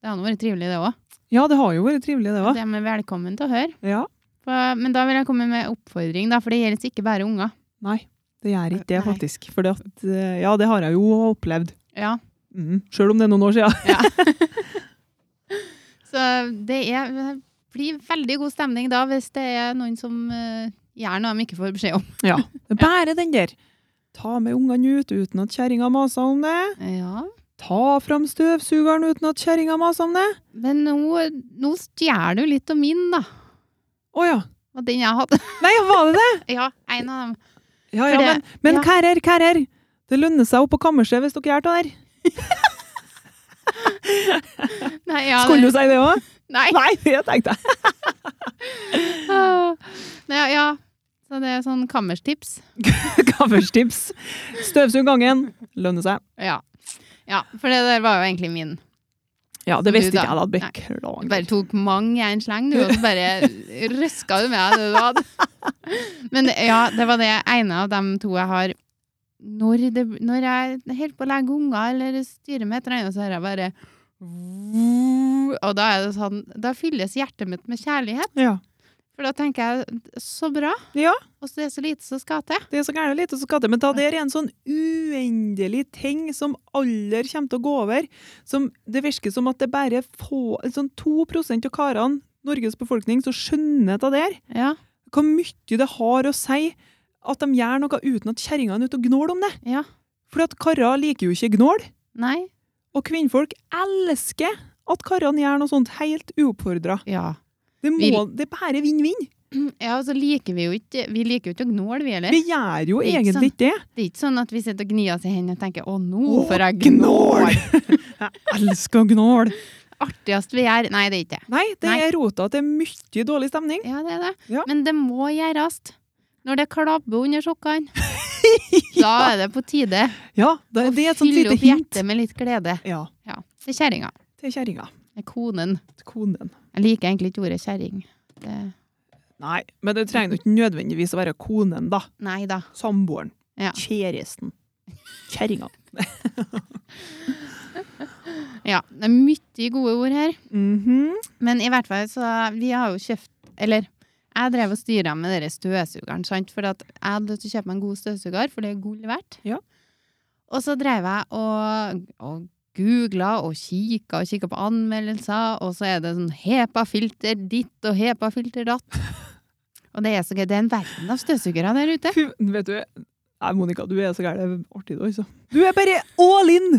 det har nå vært trivelig, det òg.
Ja, det har jo vært trivelig, det òg.
De er velkommen til å høre.
Ja.
For- Men da vil jeg komme med oppfordring, da, for det gjelder ikke bare unger.
Nei, det gjør ikke det,
Nei.
faktisk. For det at, eh, ja, det har jeg jo opplevd.
Ja.
Mm. Sjøl om det er noen år siden.
Så det er blir veldig god stemning da hvis det er noen som eh, gjør noe de ikke får beskjed om.
Ja. Det er bare den der. Ta med ungene ut uten at kjerringa maser om det.
Ja.
Ta fram støvsugeren uten at kjerringa maser om det.
Men nå, nå stjeler du litt av min, da.
Å ja.
Og den jeg hadde.
Nei, var det det?
Ja, en av dem.
Ja,
For
ja,
det-
men, men
ja.
kærer, kærer. Det lønner seg opp på kammerset hvis dere gjør det der.
Nei, ja,
Skulle du
det-
si det òg?
Nei.
Nei, det tenkte jeg.
Ah. Nei, ja. Så det er sånn kammerstips.
Kammerstips. Støvsug gangen. Lønner seg.
Ja. ja. For det der var jo egentlig min.
Ja, det
Du
visste
da?
ikke jeg da.
Nei. Du
Beklager.
bare tok mange i en sleng, du, og så bare røska du med deg det du hadde. Men det- ja, det var det ene av de to jeg har Når, det, når jeg holder på å legge unger eller styrer med et eller annet, så har jeg bare Og da er det sånn Da fylles hjertet mitt med kjærlighet.
Ja.
For da tenker jeg så bra,
Ja.
og så er det så lite som skal til.
Det er så gærent lite som skal til, men da det er en sånn uendelig ting som aldri kommer til å gå over, som det virker som at det bare få, sånn 2 av karene, Norges befolkning, som skjønner det der,
Ja,
hvor mye det har å si at de gjør noe uten at kjerringene er ute og gnåler om det.
ja.
For at karer liker jo ikke gnål,
Nei.
og kvinnfolk elsker at karene gjør noe sånt helt uoppfordra.
Ja.
Det, må,
Vi-
det er bare vinn-vinn.
Ja, og så liker vi jo ikke Vi liker jo ikke å gnåle, vi heller.
Vi gjør jo
Det er ikke
egentlig ikke det.
Det er ikke sånn at vi sitter og gnir oss i hendene og tenker 'Å, nå
Å,
får jeg gnål'.
Gnål! Jeg elsker gnål.
artigst vi gjør. Nei, det er ikke det.
Nei, det
Nei.
er rota til mye dårlig stemning.
Ja, det er det.
Ja.
Men det må gjøres. Når det klabber under sokkene, da er det på tide
Ja, det,
å
det er et sånt
fylle
lite
opp
hint.
hjertet med litt glede.
Ja,
Ja, det er kjerringa.
til kjerringa.
Det er konen.
Til konen.
Jeg liker egentlig ikke ordet kjerring. Det-
Nei, men det trenger ikke nødvendigvis å være konen, da.
Nei da.
Samboeren.
Ja.
Kjæresten. Kjerringa.
Ja, det er mye gode ord her.
Mhm.
Men i hvert fall, så vi har jo kjøpt Eller jeg drev og styra med dere støvsugeren, sant? For at jeg hadde lyst til å kjøpe meg en god støvsuger, for det er gull verdt.
Ja.
Og så drev jeg og, og googla og kikka og kikka på anmeldelser, og så er det sånn HEPA-filter ditt og HEPA-filter datt. Og det er så gøy. Det er en verden av støvsugere der ute.
Fy, vet du Nei, Monica, du er så gæren. Artig, du, altså. Du er bare all in!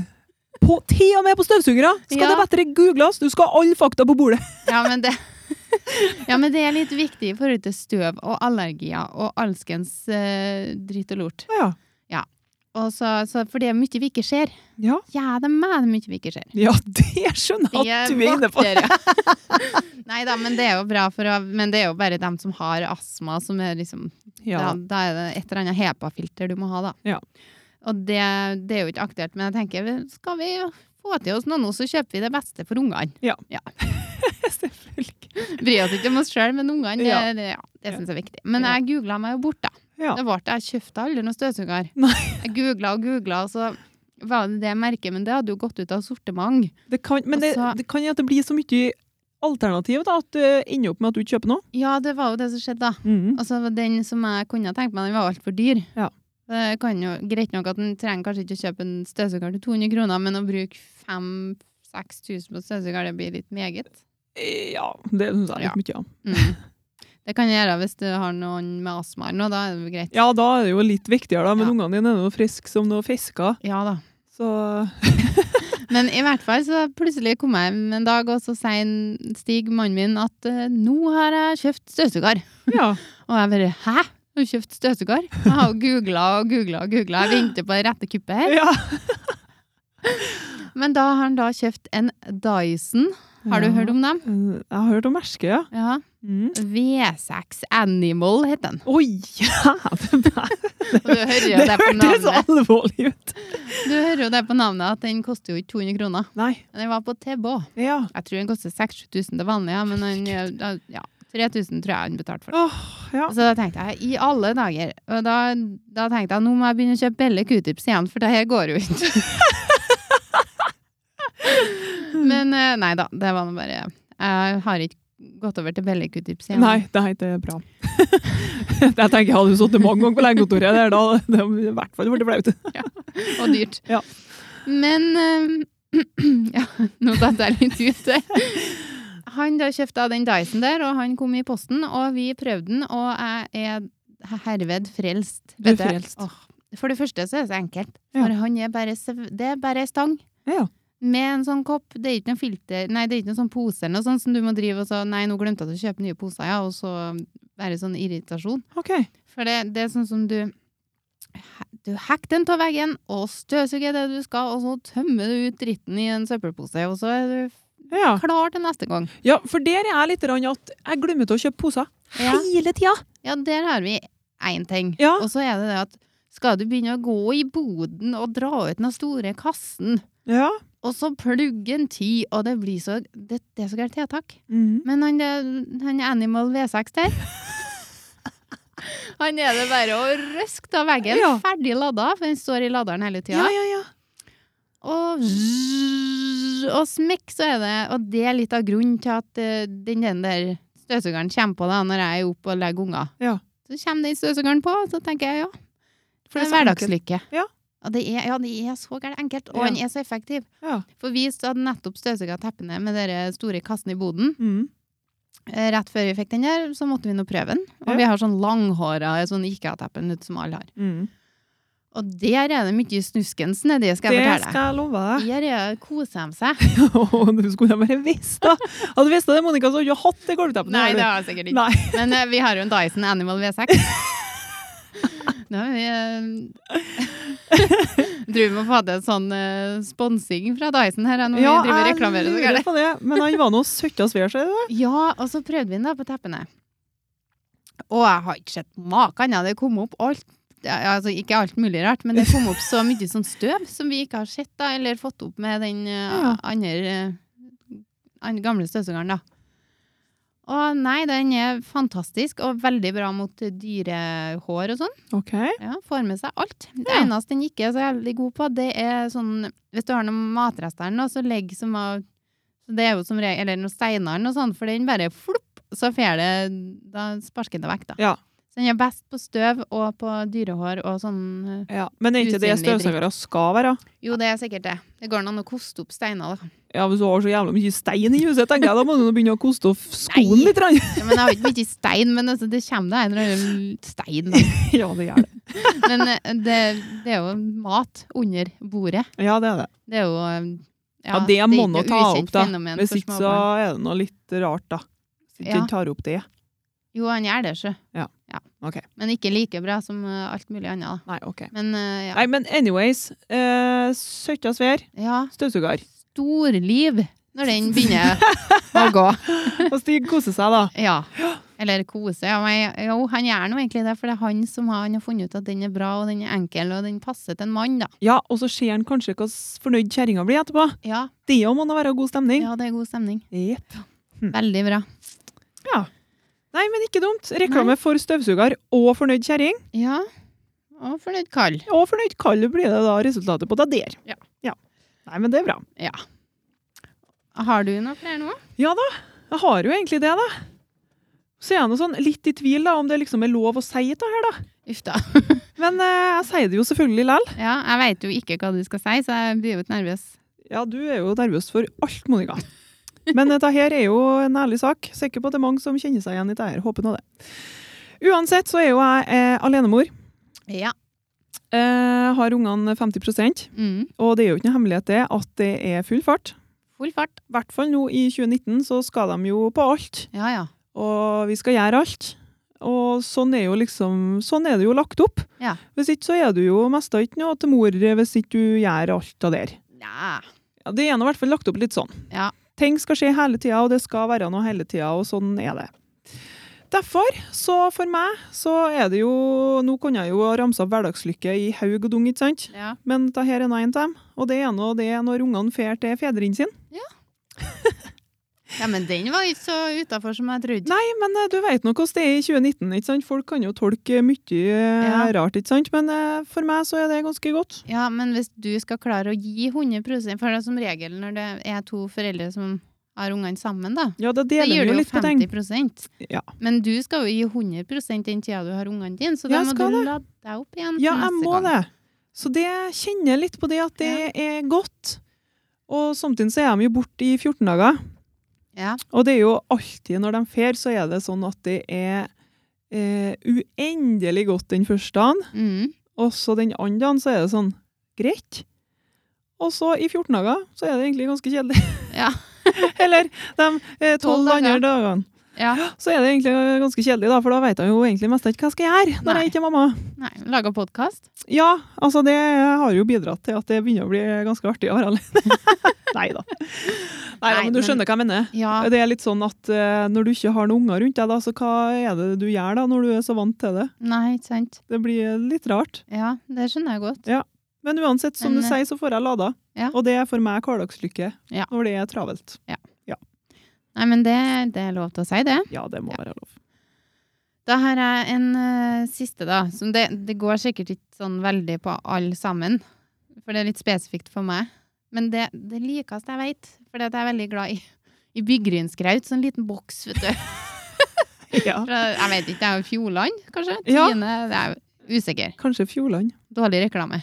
På, til og med på støvsugere! Skal
Ja.
det bedre googles? Du skal ha alle fakta på bordet!
Ja, men det ja, men det er litt viktig i forhold til støv og allergier og alskens eh, dritt og lort.
Ja.
Og så, så, for det er mye vi ikke ser.
Ja,
Ja, det er meg det mye vi ikke ser.
ja det skjønner jeg at du er inne på.
Nei da, men det er jo bra for å Men det er jo bare dem som har astma, som er liksom da,
Ja.
da er det et eller annet HEPA-filter du må ha, da.
Ja.
Og det, det er jo ikke aktuelt, men jeg tenker skal vi få til oss noe nå, så kjøper vi det beste for ungene.
Selvfølgelig.
Bryr oss ikke om oss sjøl, men ungene,
Ja.
det, det, ja, det syns jeg er viktig.
Ja.
Men jeg googla meg jo bort, da.
Ja.
Det ble, jeg kjøpte aldri noen støvsuger.
Nei.
Jeg googla og googla, og så var det det merket, men det hadde jo gått ut av sortiment.
Det kan, men det,
Altså-
det kan jo at det blir så mye alternativ da, at det ender opp med at du ikke kjøper noe.
Ja, det var jo det som skjedde, da.
Mm.
Altså, den som jeg kunne tenkt meg, den var altfor dyr.
Ja.
Det kan jo, greit nok at en trenger kanskje ikke å kjøpe en støvsuger til 200 kroner, men å bruke 5000-6000 på støvsuger, det blir litt meget.
Eh, Ja, det syns jeg er litt mye. Ja.
Mm. Det kan jeg gjøre hvis du har noen med astma eller noe, da er det jo greit.
ja, da er det jo litt viktigere, da,
Ja.
men ungene dine er jo friske som noe fisker.
Ja da.
Så
Men i hvert fall så plutselig kom jeg hjem en dag, og så sier en- Stig, mannen min, at eh, nå har jeg kjøpt støvsuger.
ja.
Og jeg bare hæ? Har du kjøpt støvsuger? Jeg har jo googla og googla og googla. Jeg venter på det rette kuppet her.
ja.
Men da har han da kjøpt en Dyson. Har du hørt om dem?
Eh, Jeg har hørt om merket, ja.
Ja.
Mm.
V6 Animal het den.
Oi, jævlig!
Og du hører jo
Det
det på
hørtes sånn.
navnet.
alvorlig ut.
Du hører jo det på navnet at den koster jo ikke 200 kroner.
Nei.
Den var på Tebå.
Ja.
Jeg tror den koster 6000-7000 til vanlig, ja, men han, ja, 3000 tror jeg han betalte for. den.
Åh, ja.
Så da tenkte jeg, i alle dager Og da, da tenkte jeg, nå må jeg begynne å kjøpe Belle Q-tips igjen, for det her går jo ikke. Men eh, nei da, det var nå bare Jeg har ikke gått over til Belle Q-tips igjen.
Nei, det er ikke bra. jeg tenker jeg hadde jo sittet mange ganger på legekontoret der, da det hadde i hvert fall vært flaut.
og dyrt.
Ja.
Men eh, ja, Nå datt jeg litt ut der. Han da kjøpte den Dyson der, og han kom i posten, og vi prøvde den, og jeg er herved frelst.
Du er
Vet du,
frelst.
åh, For det første så er det så enkelt.
Ja.
For han er bare, sv- det er bare ei stang.
Ja.
Med en sånn kopp. Det er ikke noen filter, nei, det er ikke noen sånn pose eller noe sånt som du må drive og så Nei, nå glemte jeg å kjøpe nye poser, ja, og så være sånn irritasjon.
Ok.
For det, det er sånn som du Du hacker den av veggen og støvsuger det du skal, og så tømmer du ut dritten i en søppelpose, og så er du
Ja.
klar til neste gang.
Ja, for der er jeg litt rann at jeg glemmer til å kjøpe poser
Ja.
hele tida.
Ja, der har vi én ting.
Ja.
Og så er det det at skal du begynne å gå i boden og dra ut den store kassen,
Ja.
Og så pluggen ti, og det blir så Det, det er så gærent tiltak.
Mhm.
Men han, der- han Animal V6 der Han er det bare å røske av veggen.
Ja.
Ferdig lada, for den står i laderen hele tida.
ja, ja, ja.
Og, zzz, og smekk, så er det Og det er litt av grunnen til at eh, den, den der støvsugeren kommer på da, når jeg er oppe og legger unger.
Ja.
Så kommer den støvsugeren på, og så tenker jeg ja. det er
For så enkelt.
hverdagslykke.
Ja.
Og det er, ja, det er så gærent enkelt, og
Ja.
den er så effektiv.
Ja.
For vi hadde nettopp støvsuga teppene med den store kassen i boden.
Mhm.
Eh, Rett før vi fikk den der, så måtte vi nå prøve den. Og
Ja.
vi har sånn langhåra sånn Ikea-teppen som alle har.
Mhm.
Og der er det mye snuskens nedi, skal jeg
Det
fortelle deg.
skal jeg love deg.
Der er- koser de seg.
Åh, du skulle bare visst da. Hadde du visst det, Monica, så hadde du ikke hatt det gulvteppet.
Nei,
har du.
det har jeg sikkert ikke.
Nei.
Men eh, vi har jo en Dyson Animal V6. Nå har vi eh, driver med å få til sånn eh, sponsing fra Dyson her, nå
Ja,
vi driver og
jeg
reklamerer. så
lurer
gærent.
på det, men han var noe søtta svær, så er det det?
Ja, og så prøvde vi den da på teppene. Og jeg har ikke sett maken. Ja. Det kom opp alt. Ja, ja, altså, ikke alt mulig rart, men det kom opp så mye sånn støv som vi ikke har sett da, eller fått opp med den eh,
Ja.
andre eh, an- gamle støvsugeren. da. Og nei, den er fantastisk og veldig bra mot eh, dyrehår og sånn.
Ok.
Ja, får med seg alt. Det
Ja.
eneste den ikke er så veldig god på, det er sånn Hvis du har noen matrester eller noe, så legg som av Det er jo som regel Eller noen steiner eller noe sånt, for den bare flopp, så fer det Da sparker den det vekk, da.
Ja.
Så den er best på støv og på dyrehår og sånn eh,
Ja. Men er ikke det
Usynlig
støvsugere skal være?
Jo, det er sikkert det. Det går an å koste opp steiner, da.
Ja, Hvis du har så jævlig mye stein i huset, tenker jeg, da må du nå begynne å koste opp skoen
Nei.
litt. grann.
Ja, men jeg har ikke mye stein, men altså, det kommer da en eller annen stein. Da.
ja, det gjør det.
Men eh, det, det er jo mat under bordet.
Ja, det er det.
Det er jo eh,
Ja, det
er
må
ikke
nå
noe
ta
ukjent
opp, da.
fenomen
Hvis
for
ikke så
småbarn.
er det noe litt rart, da. Hvis ikke
Ja.
den tar opp det.
Jo, han gjør det, sjø.
Ja. Ok.
Men ikke like bra som eh, alt mulig annet. da.
Nei, OK.
Men eh, ja.
Nei, men anyways. Eh, Søtta svær
ja,
støvsuger.
storliv når den begynner å gå.
Og Stig koser seg, da.
Ja. Eller kose. Ja, men, jo, han gjør nå egentlig det, for det er han som har, han har funnet ut at den er bra, og den er enkel, og den passer til en mann, da.
Ja, Og så ser han kanskje hvor fornøyd kjerringa blir etterpå.
Ja,
Det jo må da være god stemning.
ja, det er god stemning.
Jepp.
Veldig bra.
Nei, men ikke dumt. Reklame for støvsuger og fornøyd kjerring.
Ja. Og fornøyd kall.
Og fornøyd kall blir det da resultatet på det der.
Ja.
Nei, men det er bra.
Har du noe flere nå?
Ja da, jeg har jo egentlig det, da. Så er jeg nå sånn litt i tvil da, om det liksom er lov å si det her, da.
Uff da.
Men eh, jeg sier det jo selvfølgelig likevel.
Ja, jeg veit jo ikke hva du skal si, så jeg blir jo litt nervøs.
Ja, du er jo nervøs for alt, Monica. Men dette her er jo en ærlig sak. Sikker på at det er mange som kjenner seg igjen i dette her. Håper nå det. Uansett så er jo jeg eh, alenemor.
Ja.
Eh, har ungene 50
Mm.
og det er jo ikke noe hemmelighet det at det er full fart.
Full fart.
I hvert fall nå i 2019 så skal de jo på alt,
Ja, ja.
og vi skal gjøre alt. Og sånn er, jo liksom, sånn er det jo lagt opp.
Ja.
Hvis ikke så er du jo mest av ikke noe til mor hvis ikke du gjør alt av det der.
Nja.
Ja, det er nå i hvert fall lagt opp litt sånn.
Ja.
Ting skal skje hele tida, og det skal være noe hele tida, og sånn er det. Derfor, så for meg, så er det jo Nå kunne jeg jo ha ramsa opp hverdagslykke i haug og dung, ikke sant?
ja.
Men dette her er nå en av dem, og det er nå det når ungene fer til fedrene sine.
Ja, men den var ikke så utafor som jeg trodde.
Nei, men eh, du veit nå hvordan det er i 2019, ikke sant? Folk kan jo tolke mye eh,
Ja.
rart, ikke sant? Men eh, for meg så er det ganske godt.
Ja, men hvis du skal klare å gi 100 For det er som regel når det er to foreldre som har ungene sammen, da.
Ja, da
Da
deler
gir
vi
du
jo
jo
litt på ting.
50
Ja.
Men du skal jo gi 100 den tida du har ungene dine, så da
Jeg
må
skal
du lade deg opp igjen.
Ja,
til
jeg
neste
må
gang.
det. Så det kjenner jeg litt på det at det er godt. Og samtidig så er de jo borte i 14 dager.
Ja.
Og det er jo alltid når de fer, så er det sånn at det er eh, uendelig godt den første dagen.
Mm.
Og så den andre dagen så er det sånn greit. Og så i 14 dager så er det egentlig ganske kjedelig.
Ja.
Eller de eh, 12
Tolv dager.
andre dagene.
ja.
Så er det egentlig ganske kjedelig, da, for da vet jeg jo egentlig mest ikke hva jeg skal gjøre når
Nei.
jeg ikke er mamma.
Nei, laga podkast?
Ja, altså det har jo bidratt til at det begynner å bli ganske artig å være alene. Nei da. Nei, da,
Nei,
men du
men-
skjønner hva jeg mener.
Ja.
Det er litt sånn at eh, når du ikke har noen unger rundt deg, da, så hva er det du gjør da når du er så vant til det?
Nei, ikke sant.
Det blir litt rart.
Ja, det skjønner jeg godt.
Men uansett, som
Men,
du
eh,
sier, så får jeg lada.
ja.
Og det er for meg hverdagslykke
Ja.
når det er travelt.
Nei, men det, det er lov til å si det.
Ja, det må
Ja.
være lov.
Da har jeg en eh, siste, da. Som det, det går sikkert ikke sånn veldig på alle sammen. For det er litt spesifikt for meg. Men det, det likeste jeg veit, for det at jeg er veldig glad i, i byggrynskraut. Sånn liten boks, vet du.
Ja.
Fra, jeg vet ikke, det er jo Fjordland, kanskje?
Ja.
Tine? Det er jo usikker.
Kanskje Fjordland,
Dårlig reklame.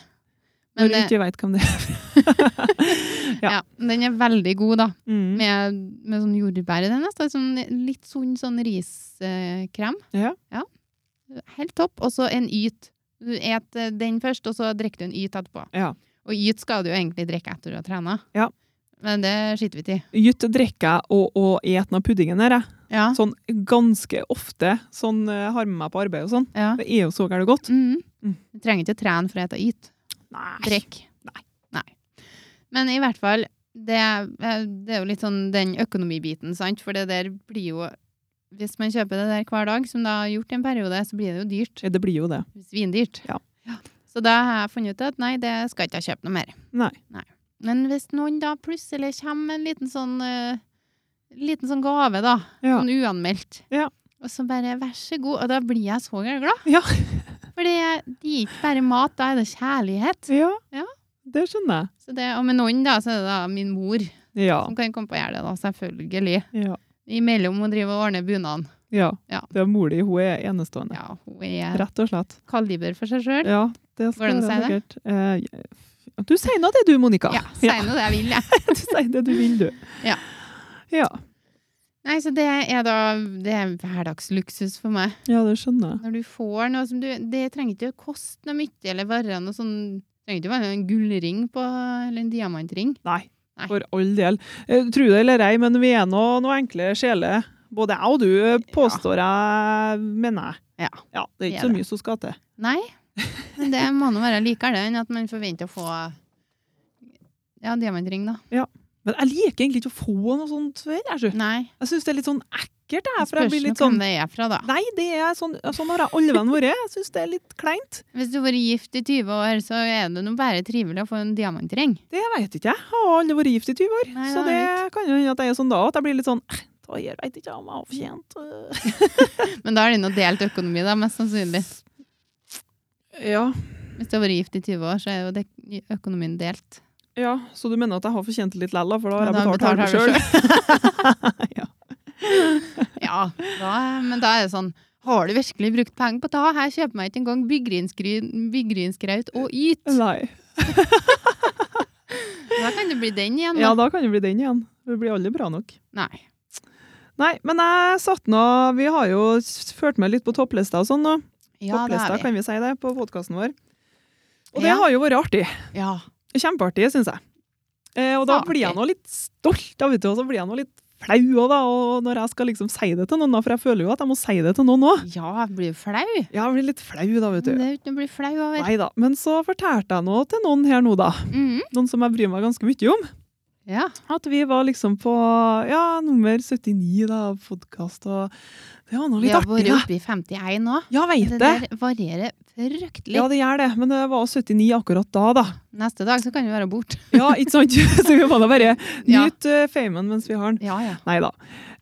når
Men
du
eh,
ikke veit hvem det er. ja.
ja. den er veldig god, da.
Mm.
Med, med sånn jordbær i den. nesten, Sånn, litt sunn sånn riskrem.
Ja.
Helt topp. Og så en yt. Du et eh, den først, og så drikker du en yt etterpå.
Ja.
Og yt skal du jo egentlig drikke etter du har trena.
Ja.
Men det skiter vi ikke i.
Gytt drikker jeg og, og et noe av puddingen her, jeg.
Ja.
Sånn ganske ofte. Sånn eh, har med meg på arbeid og sånn.
ja.
Det er jo så gærent godt.
Mhm.
Mm.
Du trenger ikke å trene for å spise yt.
Nei.
Drikk.
Nei.
Nei. Men i hvert fall, det, er- det er jo litt sånn den økonomibiten, sant? For det der blir jo Hvis man kjøper det der hver dag, som det har gjort i en periode, så blir det jo dyrt.
Det blir jo det.
Svindyrt.
Ja.
Så da har jeg funnet ut at nei, det skal ikke jeg kjøpe noe mer.
Nei.
Men hvis noen da plutselig kommer med en liten sånn, eh, liten sånn gave, da,
Ja.
sånn uanmeldt,
Ja.
og så bare vær så god, og da blir jeg så glad.
Ja.
For det er ikke bare mat, da er det kjærlighet.
Ja.
Ja.
Det skjønner jeg.
Så det, og med noen, da, så er det da min mor
Ja.
som kan komme på å gjøre det, da, selvfølgelig.
Ja.
Imellom å drive og ordne bunaden.
ja.
Ja.
Det er mor di. Hun er enestående.
Ja, hun er
Rett og slett.
kaliber for seg sjøl.
Ja,
Går
det
det
skal
an å
være
si
sikkert. Eh, du sier nå det du, Monica.
Ja, si nå det jeg vil, jeg.
du sier det du vil, du.
Ja.
Ja,
Nei, så det er da det er hverdagsluksus for meg.
ja det skjønner jeg.
Når du får noe som du Det trenger ikke å koste noe mye, eller være noe sånn Det trenger ikke å være en gullring på, eller en diamantring.
Nei,
Nei.
for all del. Eh, Tro det eller ei, men vi er nå noen enkle sjeler. Både jeg og du eh, påstår jeg, mener jeg.
Ja.
Ja,
Vi
det er ikke
er
så
det.
mye som skal til.
Nei. Men det må nå være likere det enn at man forventer å få Ja, diamantring, da.
Men jeg liker egentlig ikke å få noe sånt før. Jeg, du.
Nei.
jeg syns det er litt sånn ekkelt, jeg. For jeg
Spørs
blir
nå
litt sånn
hvem det er fra, da.
Nei, det er sånn, sånn har jeg alle venn vært. Jeg syns det er litt kleint.
Hvis du har vært gift i 20 år, så er det nå bare trivelig å få en diamantring.
Det veit ikke jeg. Har aldri vært gift i 20 år.
Nei,
så
det
det
har
kan jo hende at jeg er sånn da at jeg blir litt sånn eh, Da gjør veit ikke om jeg har fortjent øh».
Men da er det nå delt økonomi, da, mest sannsynlig.
Ja,
Hvis du har vært gift i 20 år, så er jo det økonomien delt.
ja, så du mener at jeg har fortjent det litt lell, da, for da har
Men
jeg betalt halve sjøl? ja.
Ja, da, men da er det sånn Har du virkelig brukt penger på det? Her kjøper meg ikke engang byggrynsgry- byggrynskraut og yt.
Nei.
Da kan det bli den igjen,
Ja,
da.
da kan det bli den igjen. Det blir aldri bra nok.
Nei.
Nei, men jeg satt nå Vi har jo s- ført med litt på topplista og sånn nå.
Ja, det
topplista,
er vi.
kan vi si det, på podkasten vår. Og det
Ja.
har jo vært artig.
Ja.
Kjempeartig, syns jeg. Eh, og da
Saklig.
blir jeg nå litt stolt, da, vet du, og så blir jeg nå litt flau også, da, og når jeg skal liksom si det til noen, da, for jeg føler jo at jeg må si det til noen òg.
ja, jeg blir jo flau.
Ja, jeg blir litt flau, da, vet
Det
du.
er jo ikke noe å bli flau over.
Nei da. Men så fortalte jeg nå til noen her nå, da.
Mhm.
Noen som jeg bryr meg ganske mye om.
Ja.
At vi var liksom på ja, nummer 79, da, podkast og Det var nå
Vi
litt
har
artig,
vært
da.
oppe i 51 nå.
Ja, veit
Det
det.
der varierer fryktelig.
Ja, det gjør det. Men det var 79 akkurat da, da.
Neste dag så kan vi være borte.
Ja, ikke sant? Så vi må da bare
Ja.
nyte eh, famen mens vi har den.
Ja, ja.
Nei da.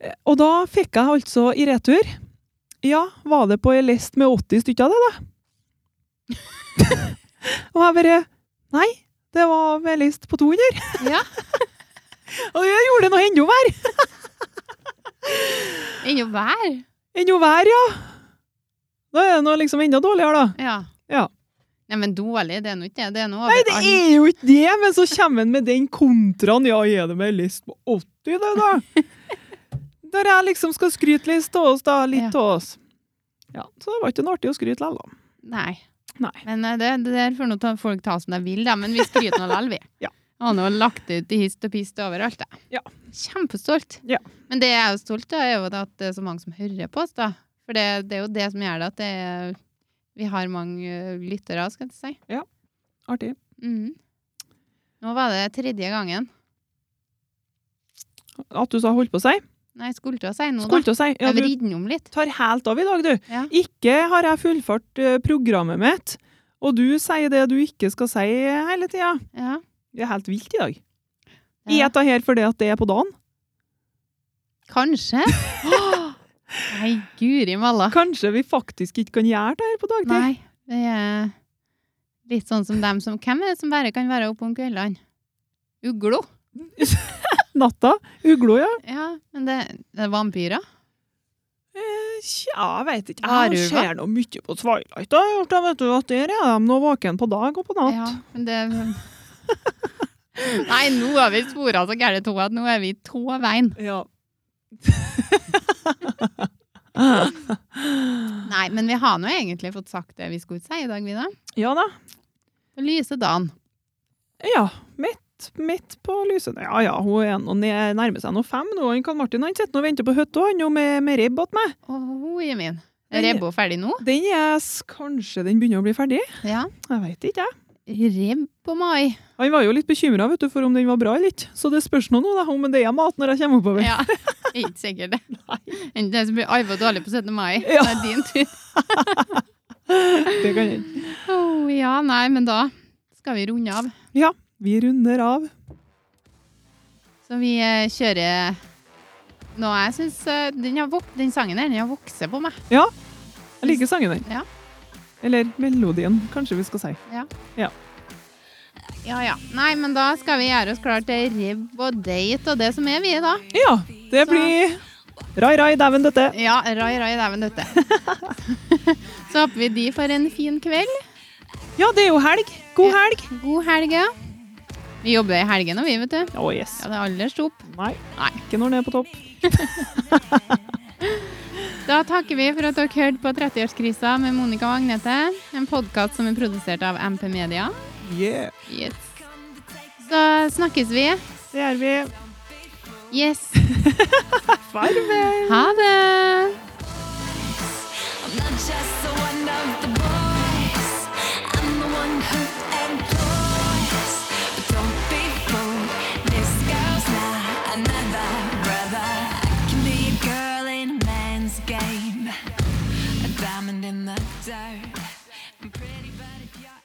Eh, Og da fikk jeg altså i retur Ja, var det på ei list med 80 stykker av det, da? og jeg bare Nei, det var med ei list på 200.
ja.
Og jeg gjorde noe enda verre!
Ennå vær.
Enda verre, ja! Da er det noe liksom enda dårligere, da.
Ja.
Ja.
Nei, men dårlig, det er nå ikke det. Det er nå
Nei, det
overalt.
er jo ikke det, men så kommer han med den kontraen. Ja, er det med ei list på 80, det, da? Når jeg liksom skal skryte litt av oss, da. Litt
Ja.
av oss. Ja, så det var ikke noe artig å skryte likevel, da.
Nei.
Nei.
Men eh, det, det der får nå ta- folk ta som de vil, da. Men vi skryter nå likevel, vi.
Ja.
Har nå lagt det ut i hist og pist overalt, da.
Ja.
Kjempestolt.
Ja.
Men det jeg er jo stolt av, er jo at det er så mange som hører på oss, da. For det, det er jo det som gjør det at det er, vi har mange eh, lyttere, skal jeg si.
Artig.
Mhm. Nå var det tredje gangen.
At du sa holdt på å si?
Nei, skulle til å si noe,
Skulle
da.
til å si. Ja,
Jeg
du
vrir den om litt.
tar helt av i dag, du.
Ja.
Ikke har jeg fullført eh, programmet mitt, Og du sier det du ikke skal si hele tida.
Ja.
Det er helt vilt i dag.
Ja.
Er dette her fordi at det er på dagen?
Kanskje. Åh! Nei, guri malla.
Kanskje vi faktisk ikke kan gjøre det her på dagtid?
Nei, det er litt sånn som dem som Hvem er det som bare kan være oppe om kveldene? Uglo?
Natta? Uglo, ja.
Ja, men det, det er vampyrer.
Tja, jeg vet ikke. Jeg
Varulver.
ser nå mye på Twilight. Da, gjort det, vet du, at der er de nå våken på dag og på natt.
Ja, men det Nei, nå har vi spora så gærent to at nå er vi to veien.
Ja.
Nei, men vi har nå egentlig fått sagt det vi skulle si i dag, Vida.
ja da.
På lyse dagen.
Ja, midt, midt på lyset. Ja ja, hun er nå ned- nærmer seg nå fem nå. Han Karl Martin han sitter nå og venter på hytta han nå med, med ribb åt meg.
Å, Jimin. Er Rebbo ferdig nå?
Den er s- kanskje den begynner å bli ferdig.
Ja.
Jeg vet ikke, jeg.
Rebb og mai.
Han var jo litt bekymra for om den var bra eller ikke, så det spørs nå, nå da, om det er mat når jeg kommer oppover.
Ja, det er ikke sikkert det. Enten det som blir arva dårlig på 17. mai,
Ja.
det er din tur.
Det kan hende.
Åh, Oh, ja, nei, men da skal vi runde av.
Ja, vi runder av.
Så vi eh, kjører nå, jeg synes eh, den, har vok den sangen her, den har vokst på meg.
Ja. Jeg liker sangen der.
Ja.
Eller melodien, kanskje vi skal si.
Ja.
Ja.
Ja, ja. Nei, men da skal vi gjøre oss klar til ribb og date og det som er vi da.
Ja, det
Så-
blir Rai, rai, dæven døtte.
Ja, rai, rai, dæven dette. Så håper vi de får en fin kveld.
Ja, det er jo helg. God
Ja.
helg.
God helg, ja. Vi jobber i helgen, og vi, vet du.
Å, yes.
Ja, det er aller stop.
Nei,
Nei.
ikke når den er på topp.
Da takker vi for at dere hørte på 30-årskrisa med Monica og Agnete. En podkast som er produsert av MP Media.
Yeah.
Yes. Så snakkes vi.
Det gjør vi.
Yes.
Farvel.
Ha det!
I'm not just the one of the boys. I'm the one who employs. But don't be fooled. This girl's not another brother. I can be a girl in a man's game. A diamond in the dirt. I'm pretty, but if you're